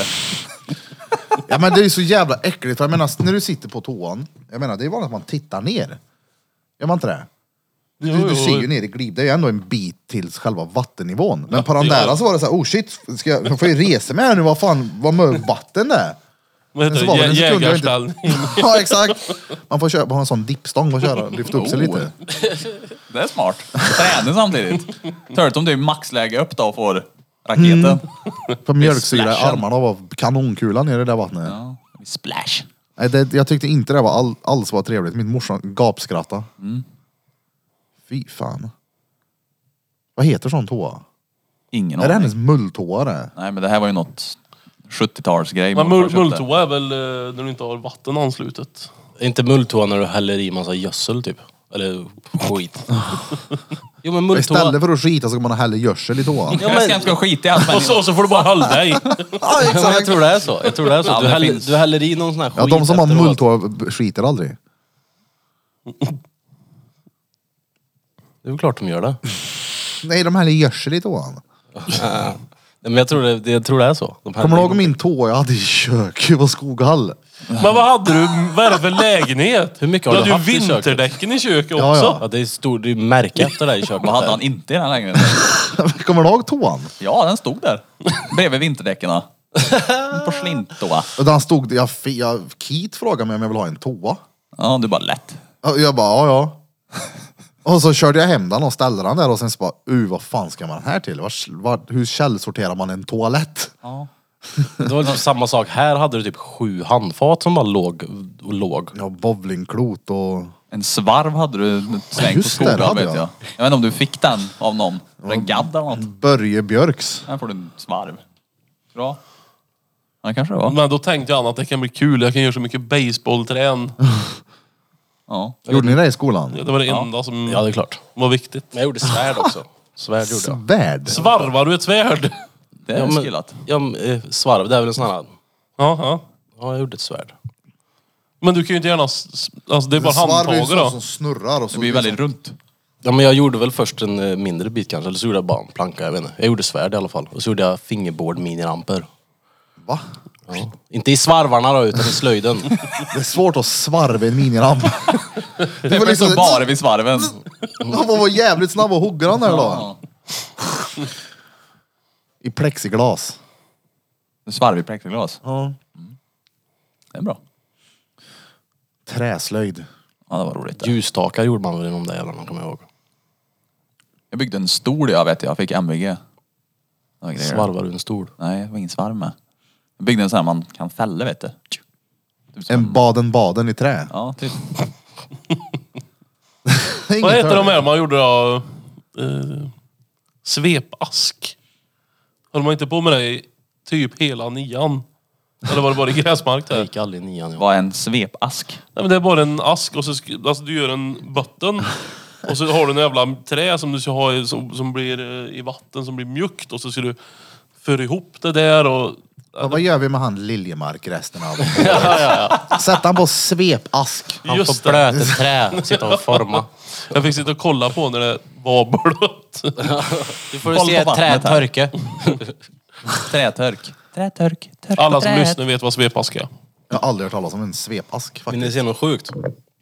A: Ja men det är så jävla äckligt. För Jag menar när du sitter på toan. Jag menar det är vanligt att man tittar ner. Gör man inte det? Du,
D: Jo,
A: du
D: jo.
A: ser ju ner i glid. Det är ju ändå en bit till själva vattennivån. Men på den
D: det gör
A: där så var det så här, oh shit, ska jag, jag får ju resa mig här nu. Vad fan, vad mycket vatten det är.
D: Vad
A: Men
D: heter
A: så var
D: det?
A: väl
D: Jä-
A: en sekund jag inte-
D: Jägarställning.
A: <laughs> Ja exakt. Man får köpa ha en sån dippstång och köra, lyfta upp sig lite.
B: Det är smart. Träning samtidigt. Turret om du är i maxläge upp då och får raketen.
A: För mjölksyra i
B: splashen.
A: armarna var kanonkula ner i det där vattnet.
B: Ja. Splash.
A: Nej, det, jag tyckte inte det var all, alls var trevligt. Min morsa gapskrattade.
C: Mm.
A: Fy fan. Vad heter sån toa?
B: Ingen
A: Är det
B: aning.
A: hennes mulltoa det?
B: Nej men det här var ju något 70-talsgrej.
D: Men
B: morfar
D: mul-
B: köpte.
D: mulltoa är väl eh, när du inte har vatten anslutet.
C: Inte mulltoa när du häller i massa gödsel typ. Eller
A: <laughs>
C: skit. jo men mulltoa.
A: Istället för att skita så kan man hälla gödsel i
C: <laughs>
A: toan.
B: Ja, men... Jag ska inte skita i allt men...
D: Och så, så får du bara hålla dig.
A: ja,
C: Ja, men jag tror det är så. Jag tror det är så.
B: Ja,
C: Du,
B: det
C: häller,
B: finns.
C: du häller i någon sån här skit
A: Ja, de som har
C: efteråt.
A: mulltoa b- skiter aldrig.
C: Det är väl klart de gör det.
A: Nej, de häller gödsel i toan.
C: Nej, men jag tror det, det, jag tror det är så. De häller
A: Kommer du
C: i
A: ihåg min toa jag hade i köket på Skoghall?
D: <laughs>
A: <laughs>
D: Men vad hade du? Vad är det för lägenhet?
C: Hur mycket har du
D: hade
C: haft i
D: ju
C: köket?
D: vinterdäcken i köket
A: Ja,
D: också.
A: ja.
C: Ja, det är stor, det är märke efter dig i köket.
B: Vad hade
C: där.
B: han inte i den här lägenheten?
A: Kommer du ihåg toan?
B: Ja, den stod där. Bredvid vinterdäcken. Porslint då.
A: Och Den stod, jag, fi- jag, Keith frågade mig om jag ville ha en toa.
B: Ja, du bara lätt.
A: Och Jag bara, ja ja. Och så körde jag hem den och ställde den där och sen så bara, uh vad fan ska man här till? Var, var, hur källsorterar man en toalett?
B: Ja.
C: Det var typ samma sak. Här hade du typ sju handfat som bara låg och låg.
A: Ja, bowlingklot och...
B: En svarv hade du slängt på
A: Just det, det
B: skolan
A: hade
B: vet
A: jag.
B: jag. Jag vet inte om du fick den av någon. Var det en gadd eller något?
A: Börje Björks.
B: Här får du en svarv. Bra. Ja, kanske det var.
D: Men då tänkte han att det kan bli kul, jag kan göra så mycket baseballträn.
B: Ja.
A: Gjorde ni det i skolan?
D: Det var det enda som
C: Ja, det är klart.
D: var viktigt.
C: Men jag gjorde svärd också. Svärd gjorde jag.
A: Svärd?
D: Svarvar du
C: <laughs>
D: ett svärd?
B: Det är
C: Ja, men-
B: skillat.
C: Ja, men, eh, svarv, det är väl en sån här...
D: Ja, ja.
C: Ja, jag gjorde ett svärd.
D: Men du kan ju inte gärna... s- s- Alltså det är bara
A: Svarv är ju
D: handtaget
A: sån
D: då.
A: som snurrar och så...
B: Det blir väldigt runt.
C: Ja, men jag gjorde väl först en eh, mindre bit kanske, eller så gjorde jag bara en planka, jag vet inte. Jag gjorde svärd i alla fall. Och så gjorde jag fingerboard miniramper.
A: Va?
C: Ja. Inte i svarvarna då, utan i slöjden. <laughs>
A: Det är svårt att svarva en
B: <laughs>
A: miniramp.
B: Det
A: var
B: var
A: liksom-
B: liksom bara vid svarven.
A: Han var jävligt snabb att hugga den där då.
B: Ja.
A: I plexiglas.
B: En Svarv i plexiglas.
A: Ja.
B: Det är bra.
A: Träslöjd.
B: Ja, det var roligt. det.
C: Ljusstakar gjorde man väl inom det jävlarna, kommer jag ihåg.
B: Jag byggde en stol jag vet jag. Fick MVG. Några grejer.
C: Svarvar du en stol?
B: Nej, det var ingen svarv med. Jag byggde en sån här man kan fälla vet du. Typ som-
A: En Baden-Baden i trä.
B: Ja, typ.
A: Inget
D: Vad heter
A: hörde.
D: de här man gjorde av eh, svepask? Höll man inte på med det i typ hela nian? Eller var det bara i gräsmark
C: Jag
D: där?
C: gick aldrig i nian. Jag.
B: Var en svepask.
D: Nej men det är bara en ask och så sk- alltså, du gör en botten och så har du en jävla trä som du ska ha i, som, som blir eh, i vatten som blir mjukt och så ska du föra ihop det där och...
A: Ja, vad gör vi med han Liljemark resten
D: <laughs>
A: av Sätt han på svepask.
C: Han
D: Just
C: får
D: det.
C: blöt ett trä, sitta och forma.
D: Jag fick sitta och kolla på när det var blött.
C: Du får
B: Kolla
C: se
B: på
C: ett
B: vattnet här.
C: träd torka.
B: Trätörk. Trätörk. Törk.
D: Alla som lyssnar vet vad svepask är.
A: Jag har aldrig hört talas om en svepask
C: Vill
A: faktiskt.
C: ni se något sjukt?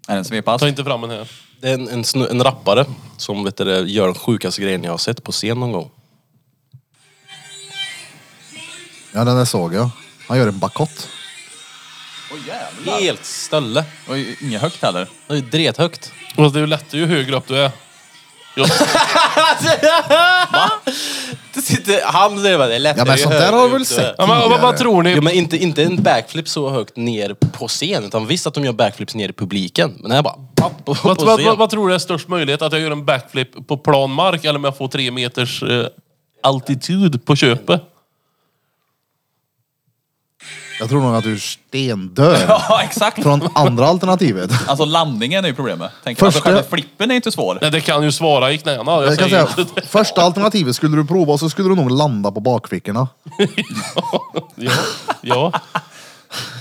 B: Är det en svepask?
D: Ta inte fram den här.
C: Det är en, en, snu, en rappare som vet du, det, gör den sjukaste grejen jag har sett på scen någon gång.
A: Ja, den där såg jag. Han gör en bakott.
B: Åh jävlar.
C: Helt ställe.
B: Det var ju inget högt heller.
C: Det är ju drethögt.
D: Fast det är ju lättare ju högre upp du är. Jag,
C: Det sitter, han säger bara det är lättare
A: Ja, men
C: ju
A: sånt där
C: högre
A: har
C: eh.
A: jag
C: upp
A: väl
C: du
A: sett.
C: är.
D: ja, men, vad, vad tror ni?
C: Ja, men inte, inte en backflip så högt ner på scen, utan visst att de gör backflips ner i publiken. Men det här bara papp på, på
D: Vad, vad,
C: scen.
D: vad, vad tror du är störst möjlighet? Att jag gör en backflip på plan mark eller om jag får tre meters eh, altitud på köpet?
A: Jag tror nog att du stendör
B: Ja, <laughs> exakt.
A: från andra
D: <laughs>
A: alternativet.
B: Alltså landningen är ju problemet. Tänk,
A: Första-
B: alltså, själva flippen är inte svår.
D: Nej, det kan ju svara i knäna. Jag,
A: Jag kan
D: säger.
A: säga, första alternativet skulle du prova så skulle du nog landa på bakfickorna.
D: Ja, ja.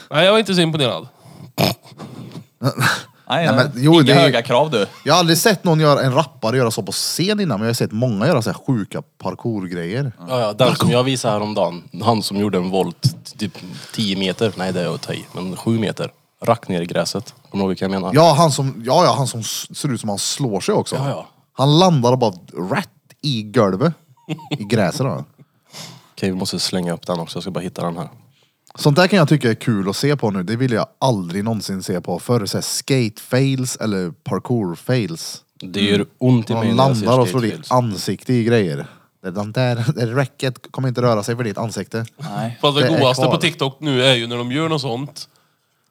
D: Nej, jag var inte så imponerad.
B: Nej,
A: Nej,
B: nej.
A: men, jo,
B: inga
A: det är-
B: höga krav du.
A: Jag har aldrig sett någon göra en rappare göra så på scen innan, men jag har sett många göra så här sjuka parkourgrejer.
C: Ja, ja, den som jag visade häromdagen, han som gjorde en volt typ 10 meter, nej det är att ta i, men 7 meter. Rack ner i gräset. Kommer du ihåg vilka jag menar?
A: Ja, han som, ja, ja, han som s- ser ut som han slår sig också.
C: Ja, ja.
A: Han landar och bara rätt i golvet. I gräset då.
C: Okej, vi måste slänga upp den också, jag ska bara hitta den här.
A: Sånt där kan jag tycka är kul att se på nu. Det ville jag aldrig någonsin se på förr. Så här skate fails eller parkour fails.
C: Det gör ont i mig
A: De
C: när jag ser
A: Mm. landar och Ah, slår ditt
C: skatefields.
A: ansikte i grejer. Det, den där, det räcket kommer inte röra sig för ditt ansikte.
B: Nej.
D: Fast det,
A: Det är
D: godaste
A: kvar.
D: på TikTok nu är ju när de gör något sånt.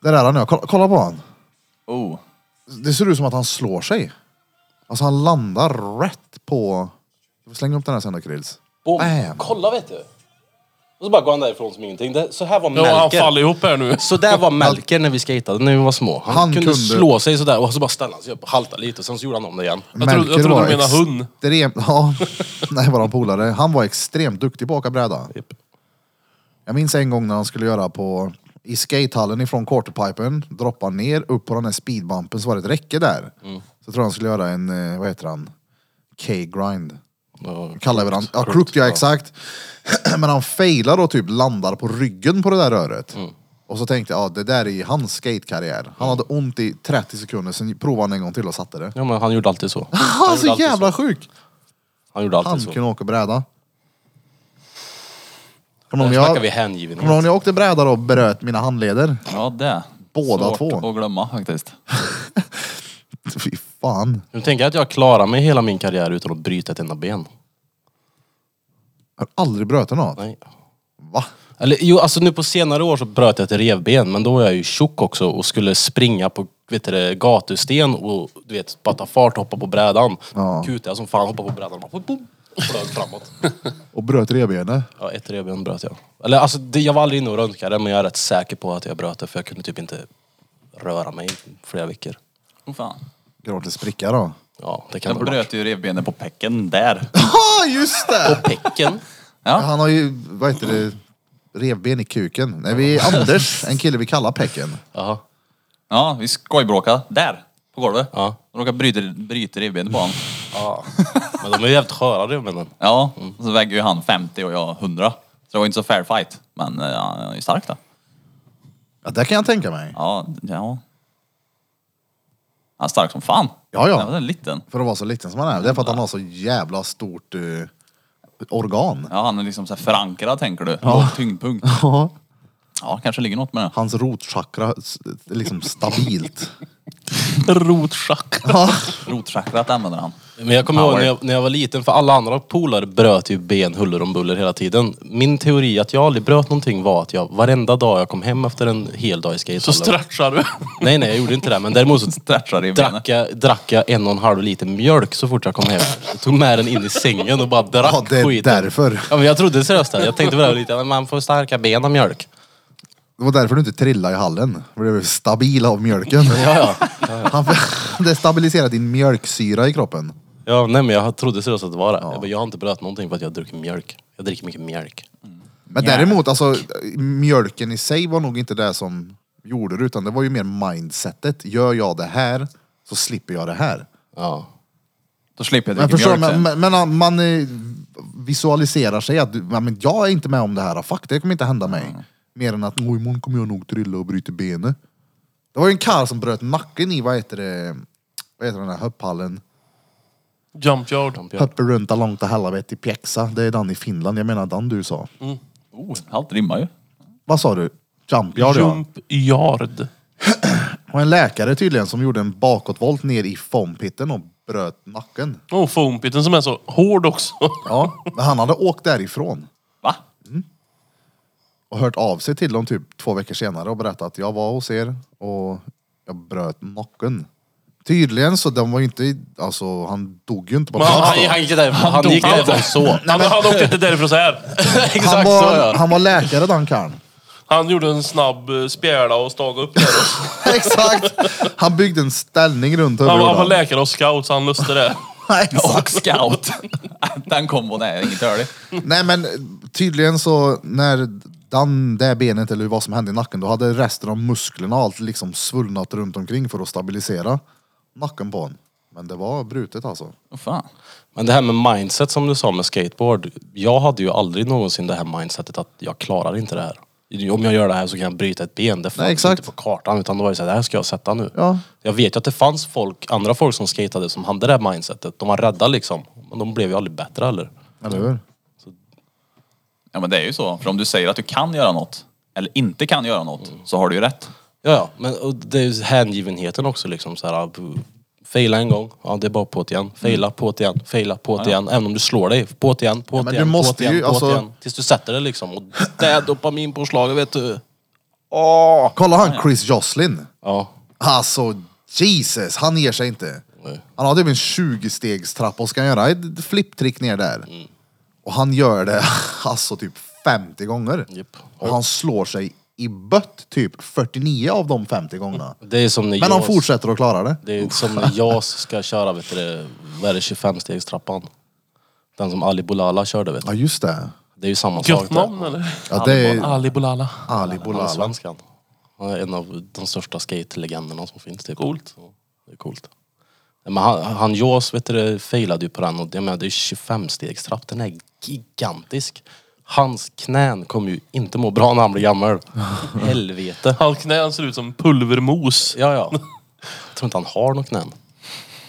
A: Det där han gör. Kolla, kolla på han.
B: Oh.
A: Det ser ut som att han slår sig. Alltså han landar rätt på... Jag får slänga upp den här sen då Krills.
C: Bom.
A: Bam.
C: Kolla vet du! Och så bara går han därifrån som ingenting. Det, så här var
D: Ja, han
C: Melker.
D: faller ihop här nu.
C: så där var Melker när vi skejtade, när vi var små. Han,
A: Han
C: kunde,
A: kunde-
C: slå sig sådär och så bara ställde han sig upp och haltade lite och sen så gjorde han om det igen.
D: Jag trodde- jag
A: Melker
D: trodde
A: var
D: du menade hund.
A: Extremt, <laughs> ja, nej våran polare. Han var extremt duktig på att åka bräda.
C: Japp.
A: Jag minns en gång när han skulle göra på, i skatehallen ifrån quarterpipen, droppa ner, upp på den här speedbumpen så var det ett räcke där. Så tror jag han skulle göra en, eh, vad heter han, K-grind.
C: Och-
A: Kallar vi den. Ja, crook ja exakt. <clears throat> Men han failar och typ landar på ryggen på det där röret. Och så tänkte jag, ja det där är ju hans skatekarriär. Han hade ont i 30 sekunder, sen provade han en gång till och satte det.
C: Ja men han gjorde alltid så.
A: Han är så
C: alltid
A: jävla sjuk!
C: Han gjorde alltid
A: Han
C: så.
A: kunde åka bräda. Kommer
C: Där
A: du ihåg
C: snackar vi
A: när jag- kommer du ihåg
C: hängivenhet.
A: när jag åkte bräda då och bröt mina handleder?
B: Ja, det.
A: Båda
B: Svårt
A: två.
B: att glömma faktiskt.
A: Fy fan.
C: Nu tänker jag att jag klarar mig hela min karriär utan att bryta ett enda ben.
A: Jag har aldrig bröt något.
C: Nej.
A: Va?
C: Eller jo, alltså nu på senare år så bröt jag ett revben, men då var jag ju tjock också och skulle springa på vet du, det, gatusten och du vet, bara ta fart, hoppa på brädan.
A: Ja.
C: Kutade jag som fan, hoppade på brädan och bara boom, boom, flög framåt.
A: Och bröt revbenet?
C: Ja, ett revben bröt jag. Eller alltså, det, jag var aldrig inne och röntgade, men jag är rätt säker på att jag bröt det för jag kunde typ inte röra mig i flera veckor.
B: Åh Oh, fan.
A: Gratis spricka då.
C: Ja, det kan
B: Jag
C: det vara.
B: bröt ju revbenen på pecken där.
A: Ja, just det!
C: Pecken.
B: Ja.
A: Han har ju, vad heter det, revben i kuken. Nej, vi är Anders, en kille vi kallar Pecken.
C: Jaha.
B: Ja, vi skojbråkade där på golvet.
C: Ja.
B: Och råkade bryta, bryta revbenet på honom.
C: Ja. Men de är jävligt sköra revbenen.
B: Ja, och så väger ju han 50 och jag 100. Så det var inte så fair fight. Men eh, han är ju stark då.
A: Ja, det kan jag tänka mig.
B: Ja, ja. Han är stark som fan.
A: Ja, ja.
B: Han är liten.
A: För att vara så liten som han är. Det är för att han har så jävla stort eh, organ.
B: Ja, han är liksom så här förankrad tänker du. Ja. Tyngdpunkt.
A: Ja.
B: Ja, kanske ligger något med det.
A: Hans rotchakra s- är liksom stabilt.
D: Rotschakra.
A: Ja.
B: Rotchakrat använder han.
C: Men jag kommer ihåg
B: Power.
C: när jag, när jag var liten, för alla andra polare bröt ju ben huller om buller hela tiden. Min teori att jag aldrig bröt någonting var att jag varenda dag jag kom hem efter en hel dag i
D: Så
C: skatehallen.
D: stretchar du.
C: Nej, nej, jag gjorde inte det. Men däremot <laughs> så
B: Stretchar i benet.
C: drack jag, drack jag en och en halv liter mjölk så fort jag kom hem. Jag tog med den in i sängen och bara drack
A: ja, det är
C: skiten.
A: därför.
C: Ja, men jag trodde seriöst det. Jag tänkte på det här lite, men man får starka ben av mjölk.
A: Det var därför du inte trillade i hallen. Du blev stabil av mjölken.
C: Ja, ja.
A: Han, <laughs> det stabiliserar din mjölksyra i kroppen.
C: ja nej, men jag trodde seriöst att det var det. Jag, bara, jag har inte bröt någonting för att jag dricker mjölk. Jag dricker mycket mjölk.
A: Men däremot, alltså, mjölken i sig var nog inte det som gjorde det, utan det var ju mer mindsetet. Gör jag det här så slipper jag det här.
C: Ja.
B: Då slipper jag
A: Men
B: dricka
A: förstår
B: mjölk
A: man,
B: sen.
A: men, men man eh, visualiserar sig att du, ja, men jag är inte med om det här, fuck det kommer inte hända mig. Mer än att "Åh, imorgon kommer jag nog trilla och bryta benet. Det var ju en karl som bröt nacken i, vad heter det, vad heter den här höpphallen?
D: Jump yard.
A: Höppe runt långt och helvete i pjäxa. Det är den i Finland, jag menar den du sa.
B: Oh, allt rimmar ju.
A: Vad sa du? Jump, ja, ja.
D: Jump yard.
A: Och en läkare tydligen som gjorde en bakåtvolt ner i fompitten och bröt nacken.
D: Och foampiten oh, som är så hård också.
A: Ja. Men han hade åkt därifrån
B: Va?
A: och hört av sig till dem typ två veckor senare och berättat att jag var hos er och jag bröt nacken. Tydligen så den var ju inte, alltså han dog ju inte på
D: Men
A: plats
C: Han,
A: då.
C: han gick därifrån, han gick därifrån så.
D: Han, han åkte inte därifrån så här.
A: han,
C: Exakt så
A: var,
C: ja.
A: han var läkare den karln. <laughs>
D: Han gjorde en snabb eh, spjäla och stag upp där. och-
A: Exakt! Han byggde en ställning runt
D: Han,
A: huvudet.
D: han var läkare och scout så han löste det.
B: Och scout. <laughs> Den kombon är inget hörlig.
A: Nej men tydligen så när den, det benet eller vad som hände i nacken då hade resten av musklerna och allt liksom svullnat runt omkring för att stabilisera nacken på honom. Men det var brutet alltså.
B: Åh fan.
C: Men det här med mindset som du sa med skateboard. Jag hade ju aldrig någonsin det här mindsetet att jag klarar inte det här. Om jag gör det här så kan jag bryta ett ben. Det fanns
A: exakt.
C: inte på kartan utan det var ju såhär, det här ska jag sätta nu.
A: Ja.
C: Jag vet ju att det fanns folk, andra folk som skatade som hade det här mindsetet. De var rädda liksom. Men de blev ju aldrig bättre heller.
A: Eller hur?
B: Ja men det är ju så. För om du säger att du kan göra något, eller inte kan göra något, så har du ju rätt.
C: Ja, ja. Men och det är ju hängivenheten också liksom. Så här, b- faila en gång, ja det är bara på't igen. Faila,
A: Mm.
C: på't igen, faila, på't igen. Även om du slår dig, på't igen, på't
A: men du
C: igen,
A: måste
C: på't igen,
A: ju,
C: på't
A: alltså-
C: igen. Tills du sätter det liksom. Och det är dopaminpåslaget vet du.
A: Kolla han Chris Jocelyn.
C: Ja.
A: Alltså Jesus, han ger sig inte. Han hade ju en 20-stegstrappa och ska göra ett flipptrick ner där.
D: Mm.
A: Och han gör det <laughs> alltså typ 50 gånger.
C: Japp.
A: Och han slår sig i bött typ 49 av de 50 gångerna.
C: Det är som när
A: Men han
C: Jaws-
A: fortsätter att klara det.
C: Det är som när JAS ska köra, vet du det, vad är det, 25-stegstrappan? Den som Ali Bolala körde vet
A: Ja
C: du.
A: just det.
C: Det är ju samma sak
D: Gött namn
C: där.
D: eller?
A: Ja, det är
D: Ali Bolala.
A: Ali
C: Han är
A: Bolala.
C: svenskan. Han är en av de största skate-legenderna som finns typ.
D: Coolt.
C: Så, Det är coolt. Nej, Men han, han Jaws vet du det, failade ju på den och jag menar det är 25-stegstrapp, den är gigantisk. Hans knän kommer ju inte må bra när han blir
D: <laughs>
C: gammal. Helvete.
D: Hans knän ser ut som pulvermos.
C: Ja, ja. Jag tror inte han har något knän.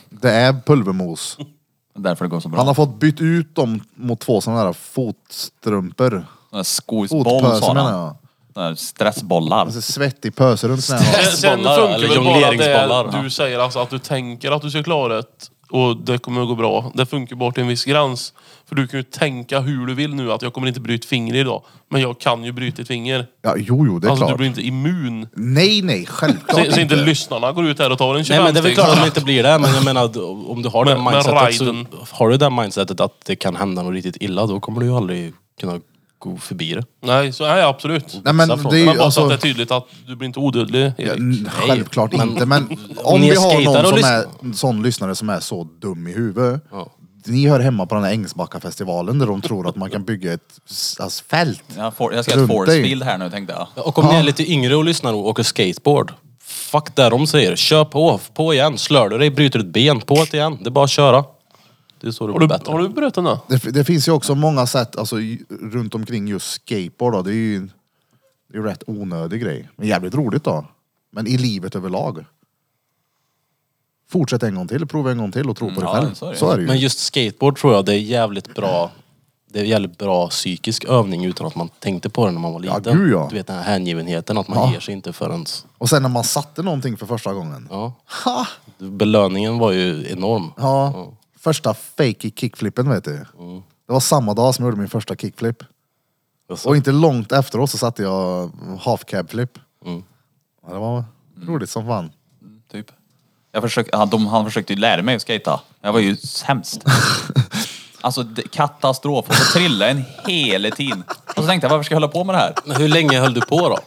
A: Det är pulvermos.
B: Det är därför det går så bra.
A: Han har fått bytt ut dem mot två sådana där fotstrumpor.
B: Sån där skosboll
A: Fotpöse
B: sa
A: menar
B: han.
A: jag.
B: Såna här stressbollar.
A: Alltså svettig pöse runt knäna.
D: Sen, sen
C: Bollar,
D: funkar
C: eller
D: väl bara
C: jongleringsbollar,
D: det
C: ja.
D: du säger, alltså att du tänker att du ska klara det och det kommer att gå bra. Det funkar bara till en viss gräns. För du kan ju tänka hur du vill nu, att jag kommer inte bryta ett finger idag. Men jag kan ju bryta ett finger.
A: Ja, jo, jo, det är
D: Alltså du
A: klart.
D: blir inte immun.
A: Nej, nej, självklart
D: Så, så inte lyssnarna går ut här och tar en 25
C: Nej men det är väl klart att
D: steg.
C: man inte blir det. Men jag menar d- om du har det
D: Men- men
C: mindsetet så
D: riden.
C: har du det mindsetet att det kan hända något riktigt illa då kommer du ju aldrig kunna gå förbi det.
D: <laughs> Nej, så är jag absolut.
A: Nej, men
C: Vissa
A: det är
D: Men
A: ju
D: bara så att det är
A: alltså...
D: tydligt att du blir inte odödlig, Erik.
A: n- Självklart
C: men-
A: inte, men om
C: Om ni
A: vi har
C: skejtar
A: någon
C: och
A: som är en sån lyssnare som är så dum i huvudet.
C: Ja.
A: Ni hör hemma på den här Ängsbackafestivalen där de tror att man kan bygga ett s- alltså, fält.
B: Jag, får, jag ska ha ett
A: Runt dig.
B: forcefield här nu tänkte jag.
C: Och om ni är lite yngre och lyssnar och åker skateboard. Fuck det de säger. Kör på, på igen. Slör du dig, bryter ett ben, på det igen. Det är bara att köra. Det är så det
D: Har
C: blir
D: du,
C: bättre.
D: har du bröt den då?
A: Det, det finns ju också många sätt alltså, i- runt omkring just skateboard. Då. Det är ju en det är ju rätt onödig grej. Men jävligt roligt då. Men i livet överlag. Fortsätt en gång till, prova en gång till och tro på dig
B: Ja,
A: själv.
B: så är det ju.
A: Så är det ju.
C: Men just skateboard tror jag det är jävligt bra. Det är jävligt bra psykisk övning utan att man tänkte på det när man var
A: Ja,
C: liten.
A: gud, ja.
C: Du vet den här hängivenheten, att man ger sig inte förrän...
A: Och sen när man satte någonting för första gången.
C: Ja.
A: Ha!
C: Belöningen var ju enorm.
A: Ja. Första fake kickflippen vet du. Det var samma dag som jag gjorde min första kickflip.
C: Alltså,
A: Och inte långt efteråt så satte jag half cab flip. Ja, det var
C: Mm.
A: roligt som fan.
B: Typ. Jag försökte, han, de, han försökte ju lära mig att skata. Jag var ju
C: <laughs>
B: sämst. Alltså det- katastrof. Och så trillade en hela tiden. Och så tänkte jag, varför ska jag hålla på med det här?
C: Men hur länge höll du på då?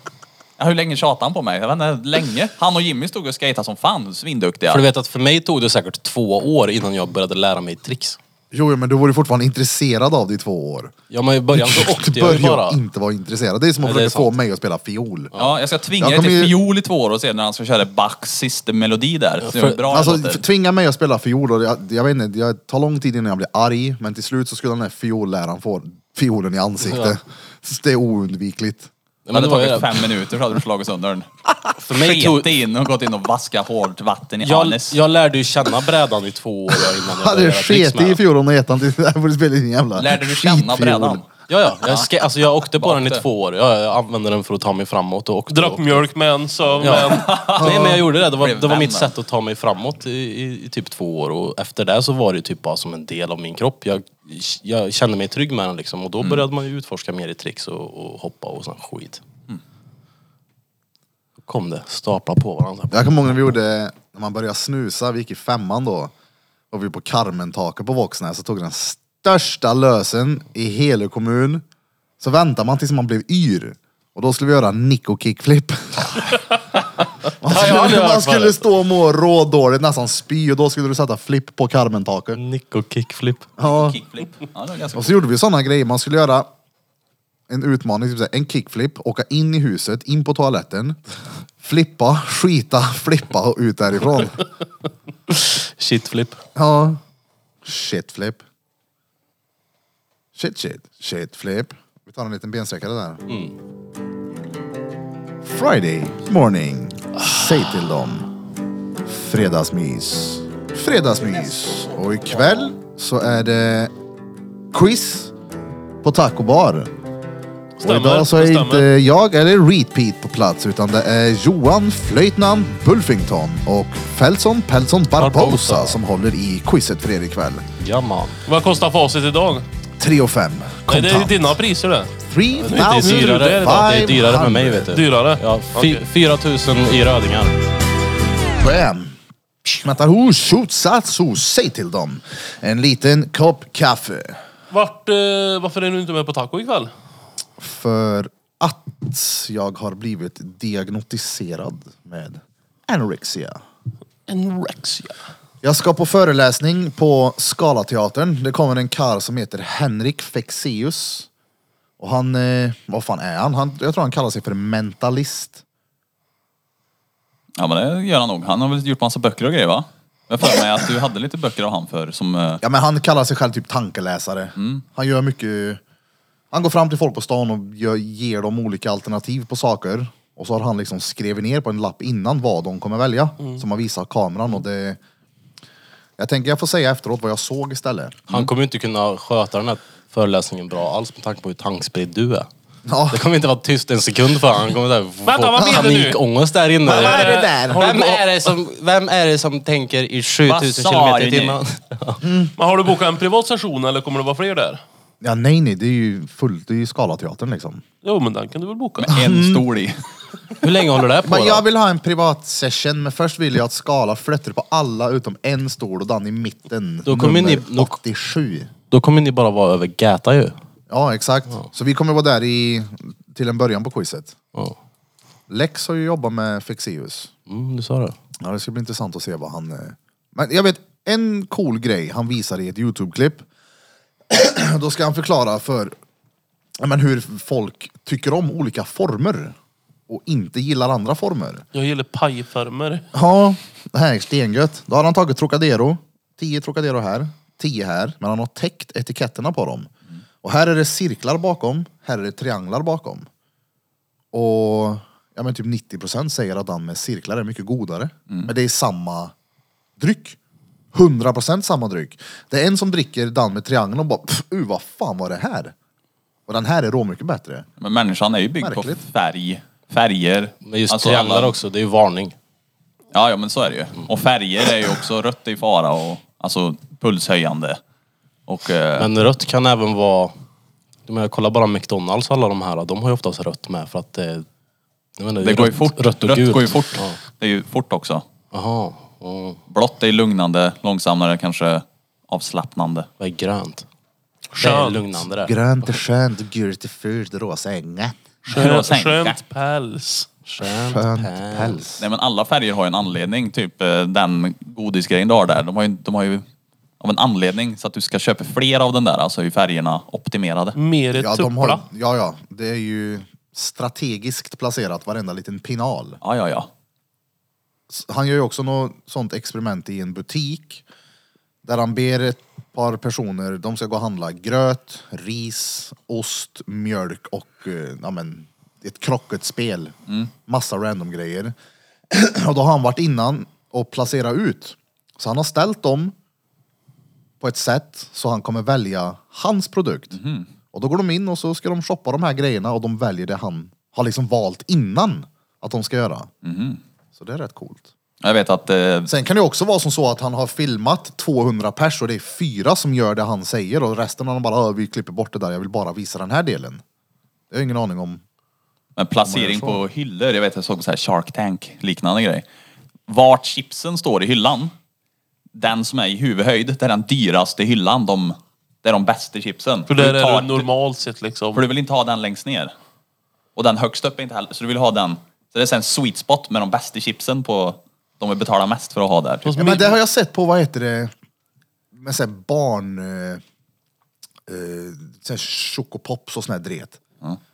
B: Ja, Hur länge tjatade han på mig? Jag vet inte, länge. Han och Jimmy stod och skatade som fan, svinduktiga.
C: För du vet att för mig tog det säkert två år innan jag började lära mig tricks.
A: Jo, jo, men du var ju fortfarande intresserad av det i två år.
C: Ja men
A: <laughs>
C: i början så åkte
A: började
C: jag ju bara.
A: inte vara intresserad. Det är som att
C: Nej, det är
A: försöka få
C: sant.
A: mig att spela fiol.
B: Ja, jag ska tvinga
A: Jag
B: dig till
A: kommer ju-
B: fiol i två år och se när han ska köra Bachs sista melodi där. Se hur
C: för-
B: bra
A: Alltså,
B: det låter.
A: f- tvinga mig att spela fiol och jag, jag vet inte, jag tar lång tid innan jag blir arg. Men till slut så skulle den här fiolläraren få fiolen i ansiktet. Så det är oundvikligt.
C: Ja,
B: Det hade
C: det var ju
B: tagit
C: det.
B: fem minuter så hade du slagit sönder den.
C: <laughs> För mig
B: Sket
C: tog...
B: in och gått in och vaskat hårt vatten i
C: Jag,
B: Hannes.
C: jag lärde ju känna brädan i två år innan jag
A: Hade
C: började
A: du
C: göra tricks
A: sketit
C: med
A: i
C: den.
A: fiolen och gett den <laughs> till... Där får du spela din jävla
B: Lärde du känna
A: skitfiol.
B: brädan?
C: Ja, ja. Jag, ska, alltså, jag åkte på den i
B: Bakte.
C: två år. Jag, jag använde den för att ta mig framåt och åkte.
D: Drack
C: och-
D: mjölk med en, sov med en.
C: Ja. <laughs> Nej men jag gjorde det. Det var,
B: Blev
C: det var mitt
B: vänner.
C: sätt att ta mig framåt i, i, i typ två år och efter det så var det ju typ bara som en del av min kropp. Jag, jag kände mig trygg med den liksom och då började man ju utforska mer i tricks och, och hoppa och sån skit. Då kom det, stapla på varandra.
A: Jag kommer ihåg när vi gjorde, när man började snusa, vi gick i femman då. Och vi var på Carmen-taket på Våxnäs och tog den största lösen i hela kommun. Så väntade man tills man blev yr. Och då skulle vi göra Nico
C: <laughs>
A: kickflip. man
C: har jag aldrig
A: skulle,
C: hört
A: man skulle
C: förut.
A: stå och må rådåligt, nästan spy. Och då skulle du sätta flipp på Carmen-taket.
C: Nick och kickflip.
A: Ja.
B: Kickflip. Ja, det var ganska
A: Och så gjorde vi sådana grejer. Man skulle göra en utmaning, typ så här, en kickflip, åka in i huset, in på toaletten, flippa, skita, flippa och ut därifrån.
C: Shitflip.
A: Ja. Shitflip. Shit shit. Shitflip. Vi tar en liten bensträckare där. Friday morning. Säg till dem. Fredagsmys. Fredagsmys. Och ikväll så är det quiz på Taco Bar. Och
D: Stämmer,
A: idag så är
D: det
A: inte
D: stämmer.
A: jag eller Repeat på plats utan det är Johan Flöjtnant Bulfington och Felson Pelson Barbosa
C: Barbosa.
A: som håller i quizet för er ikväll.
C: Ja man.
D: Vad kostar facit idag?
A: 3 och 5.
D: Nej,
A: Kontant.
D: det är ju dina priser det.
A: 3
C: Det är dyrare, det är dyrare med mig vet du.
D: Dyrare.
C: Ja,
D: Okej.
C: fy, 4000 i rödingar.
A: Bam! Matahu Shutsatsu, säg till dem. En liten kopp kaffe.
D: Vart, eh, varför är du inte med på taco ikväll?
A: För att jag har blivit diagnostiserad med anorexia.
D: Anorexia.
A: Jag ska på föreläsning på Scalateatern. Det kommer en karl som heter Henrik Fexeus. Och han, eh, vad fan är han? han? Jag tror han kallar sig för mentalist.
B: Ja men det gör han nog. Han har väl gjort massa böcker och grejer va? Jag för mig att du hade lite böcker av han för som... eh,
A: Ja men han kallar sig själv typ tankeläsare. Han gör mycket, han går fram till folk på stan och gör, ger dem olika alternativ på saker. Och så har han liksom skrivit ner på en lapp innan vad de kommer välja.
C: Mm.
A: Som han visar kameran och det... Jag tänker jag får säga efteråt vad jag såg istället.
C: Han kommer ju inte kunna sköta den här föreläsningen bra alls med tanke på hur tankspridd du är.
A: Ja.
C: Det kommer inte vara tyst en sekund för han. han kommer där
D: Vänta, vad menar du?
C: panikångest där inne.
A: Vad är det där?
C: Vem är det som, vem är det som tänker i
B: Vad
C: 7000
B: sa
C: kilometer i
B: ni?
C: timmen? <laughs>
D: Men har du bokat en privat session eller kommer det vara fler där?
A: Ja, nej, nej, det är ju fullt, det är ju Scalateatern liksom.
D: Jo, men den kan du väl boka?
B: En stol i.
C: Hur länge håller det här på
A: Men jag
C: då?
A: vill ha en privat session, men först vill jag att Skala flyttar på alla utom en stol och den i mitten.
C: Då kommer
A: nummer
C: ni- då-
A: 87.
C: Då kommer ni bara vara över Gäta ju.
A: Ja, exakt. Så vi kommer vara där i, till en början på quizet.
C: Ja.
A: Lex har ju jobbat med Fexeus.
C: Mm, du sa det.
A: Ja, det ska bli intressant att se vad han... eh, Men jag vet en cool grej han visar i ett Youtube-klipp. <clears throat> Då ska han förklara för ja, men hur folk tycker om olika former och inte gillar andra former.
D: Jag gillar pajformer.
A: Ja, det här är stengött. Då har han tagit Trocadero, 10 Trocadero här, 10 här, men han har täckt etiketterna på dem. Och här är det cirklar bakom, här är det trianglar bakom. Och ja, men typ 90% säger att den med cirklar är mycket godare. Men det är samma dryck. 100% samma dryck. Det är en som dricker den med triangeln och bara, "Pff, uh, vad fan var det här? Och den här är råmycket bättre.
B: Men människan är ju byggd på
A: Märkligt.
B: färg. Färger.
C: Men just
B: Alltså,
C: trianglar
B: alla-
C: också, det är ju varning.
B: Ja, ja, men så är det ju.
C: Mm.
B: Och färger är ju också rött i fara och alltså pulshöjande. Och eh,
C: Men rött kan även vara... Jag menar, kolla bara McDonalds alla de här, de har ju oftast rött med för att det... Jag menar,
B: det
C: är
B: går ju
C: rött,
B: fort.
C: Rött och gult.
B: går ju fort.
C: Ja.
B: Det är ju fort också.
C: Jaha. Ja.
B: Blått är lugnande, långsammare, kanske avslappnande.
C: Vad är grönt? Det är
D: Skönt.
C: lugnande det.
A: Grönt är skönt, gult är fult, rosa är nät.
B: Bra
D: Skönt,
B: sänka.
D: skönt päls.
C: Skönt,
A: Skönt
C: päls.
A: päls.
B: Nej men alla färger har ju en anledning. Typ eh, den godisgrejen du har där. De har, ju, de har ju av en anledning så att du ska köpa fler av den där. Alltså är ju färgerna optimerade.
D: Mer
A: Ja, de
D: tuppla.
A: har, ja, ja, det är ju strategiskt placerat varenda liten pinal.
B: Ja, ja, ja.
A: S- Han gör ju också något sånt experiment i en butik där han ber ett par personer, de ska gå och handla gröt, ris, ost, mjölk och eh, ja, men, ett krocket spel. Massa random grejer. <clears throat> och då har han varit innan och placerat ut. Så han har ställt dem på ett sätt så han kommer välja hans produkt. Och då går de in och så ska de shoppa de här grejerna och de väljer det han har liksom valt innan att de ska göra. Så det är rätt coolt.
B: Jag vet att eh,
A: Sen kan det också vara som så att han har filmat 200 pers och det är fyra som gör det han säger och resten har de bara "Ö, vi klipper bort det där, jag vill bara visa den här delen. Jag har ingen aning om.
B: Men placering på hyllor, jag vet jag såg så här Shark Tank liknande grej. Vart chipsen står i hyllan, den som är i huvudhöjd, det är den dyraste hyllan. De, det är de bästa chipsen.
D: För där
B: du
D: är
B: tar-
D: det normalt sett liksom.
B: För du vill inte ha den längst ner. Och den högst upp är inte heller, så du vill ha den. Så det är så här en sweet spot med de bästa chipsen på, de vill betala mest för att ha där. Typ.
A: Ja, men det har jag sett på, vad heter det, med såhär barn... Eh, eh, såhär chokopops och sån här dret.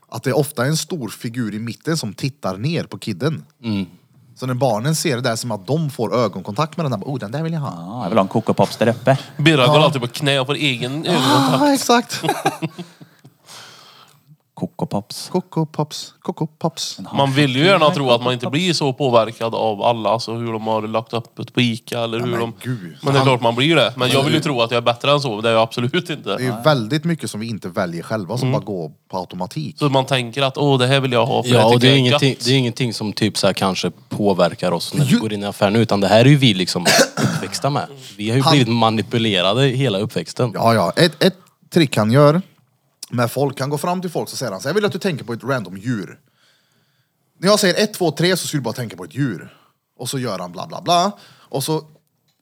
A: Att det är ofta en stor figur i mitten som tittar ner på kidden. Så när barnen ser det där som att de får ögonkontakt med den där, oh den där vill jag ha.
B: Ja, jag vill ha en Coco Pops där uppe.
D: Birra går alltid på knä och får egen ögonkontakt.
A: Ah, exakt!
B: Coco Pops.
A: Coco Pops, Coco Pops.
D: Man vill ju gärna tro att man inte blir så påverkad av alla, alltså hur de har lagt upp det på Ica eller hur
A: men
D: de...
A: gud.
D: Men det är klart man blir det. Men jag vill ju tro att jag är bättre än så, det är jag absolut inte.
A: Det är ju väldigt mycket som vi inte väljer själva som bara går på automatik.
D: Så man tänker att åh, det här vill jag ha för
C: Ja, och
D: tycker
C: det är,
D: jag
C: ingenting,
D: gött.
C: det är ingenting som typ så här kanske påverkar oss när vi
A: Ju-
C: går in i affären. Utan det här är ju vi liksom uppväxta med. Vi har ju
A: Han-
C: blivit manipulerade hela uppväxten.
A: Ja, ja. Ett, ett trick han gör med folk, han går fram till folk så säger han så här, jag vill att du tänker på ett random djur. När jag säger ett, två, tre så ska du bara tänka på ett djur. Och så gör han bla bla bla. Och så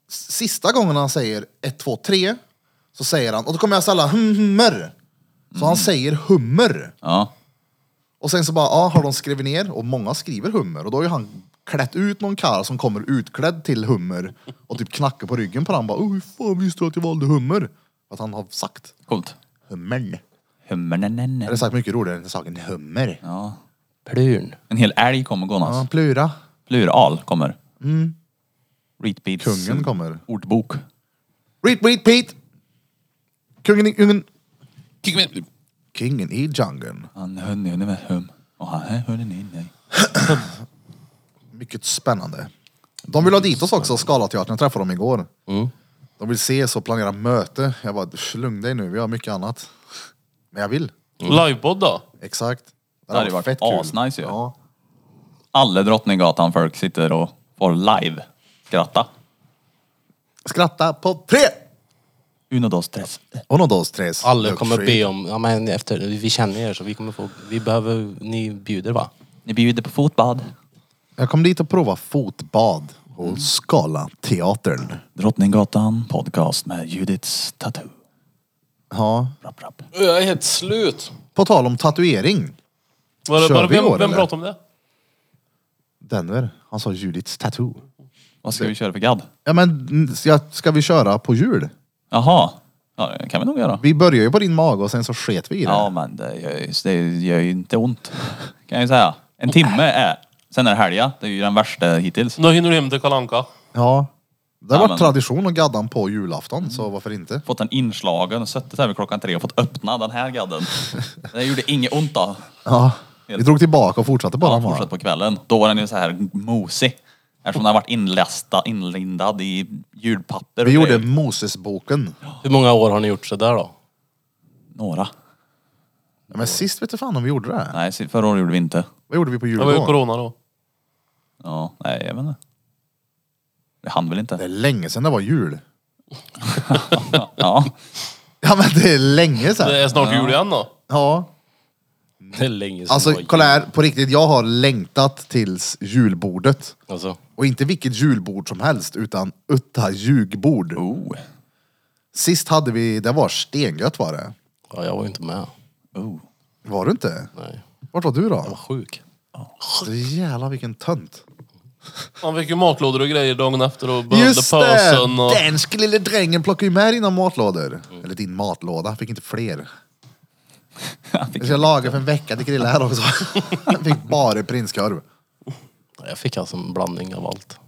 A: s- sista gången han säger ett, två, tre så säger han, och då kommer jag ställa hummer. Så han säger hummer.
B: Ja.
A: Och sen så bara, ja, har de skrivit ner? Och många skriver hummer. Och då har ju han klätt ut någon karl som kommer utklädd till hummer och typ knackar på ryggen på honom. Bara, "Åh, hur fan visste du att jag valde hummer? För att han har sagt
B: Coolt.
A: hummern.
B: Hummernen.
A: Eller sagt mycket roligare än saken hummer. Ja,
B: Ja.
C: Plurn.
B: En hel älg kommer gånas.
A: plura.
B: Plural kommer. Mm. Readbeats.
A: Kungen kommer.
B: Ordbok.
A: Reet, reet, Pete! Kungen i djungeln. Kingen i djungeln.
B: Han hörde inne med hum. Och han hörde inne.
A: Mycket spännande. De vill ha dit oss också, Scalateatern. Jag träffade dem igår. De vill ses och planera möte. Jag bara, "Pff, lugn dig nu, vi har mycket annat. Men jag vill.
D: Livepodd då?
A: Exakt. hade
B: hade varit
A: kul.
B: asnice ju.
A: Ja.
B: Alla Drottninggatan folk sitter och får live skratta.
A: Skratta på tre!
B: Uno, dos, tres.
A: Uno, dos, tres.
C: Alla kommer
A: Luxury.
C: be om, ja men efter, vi känner er så vi kommer få, vi behöver, ni bjuder va?
B: Ni bjuder på fotbad.
A: Jag kom dit och prova fotbad och
C: Mm.
A: skala teatern.
B: Drottninggatan podcast med Judiths Tattoo.
A: Ja.
B: Rapp, rapp.
G: Jag är helt slut.
A: På tal om tatuering.
D: Var, det-
A: Kör
D: bara,
A: vi i
D: vem
A: år,
D: vem
A: eller?
D: pratade om det?
A: Denver, han sa Judiths tattoo.
B: Vad ska vi köra för gadd?
A: Ja men n- ska- ska vi köra på jul?
B: Jaha. Ja, det kan vi nog göra.
A: Vi börjar ju på din mage och sen så sket vi i det.
B: Ja, men det gör, ju- det gör ju inte ont. Kan jag ju säga. En timme är... Sen är det helga. Det är ju den värsta hittills.
D: Då hinner du hem till Kalle Anka.
A: Ja. Det har
B: Ja,
A: varit
B: men- Mm.
A: tradition att gadda på julafton, så varför inte?
B: Fått den inslagen och suttit här vid klockan tre och fått öppna den här gadden. Det gjorde inget ont då.
A: Ja. Vi drog tillbaka och fortsatte bara.
B: Ja,
A: va?
B: fortsatt på kvällen. Då var den ju så här mosig. Eftersom den har varit inlästa, inlindad i julpapper. och
A: vi gjorde
B: grejer.
A: Mosesboken.
C: Hur många år har ni gjort sådär då?
B: Några.
A: Ja, men sist vet du fan om vi gjorde det.
B: Nej, si- förra året gjorde vi inte.
A: Vad gjorde vi på jul
D: Det var ju
A: då?
D: corona då.
B: Ja, nej jag vet inte. Det hann väl
A: Det
B: inte.
A: är länge sedan det var jul.
B: Ja.
A: Ja men det är länge
D: Det
A: sedan.
D: är snart jul igen då.
A: Ja.
C: Det är länge sedan
A: Alltså
C: det var
A: kolla här, på riktigt. Jag har längtat tills julbordet.
C: jul. Alltså,
A: Och inte vilket julbord som helst, utan utta ljugbord.
B: Oh.
A: Sist hade vi, det var stengött var det.
C: ja, jag var ju inte
B: <laughs>
C: med.
B: Oh.
A: Var du inte?
C: Nej.
A: Vart var du då?
C: Sjuk.
A: Så jävla vilken tönt.
D: Han fick ju matlådor och grejer dagen efter och behövde
A: Just det!
D: pösen och...
A: Den lille drängen plockade ju med dina matlådor. Eller din matlåda, fick inte fler.
B: Han fick-
A: Jag ska laga för en vecka till Krille här också. Jag fick bara prinskorv.
C: Jag fick alltså en blandning av allt.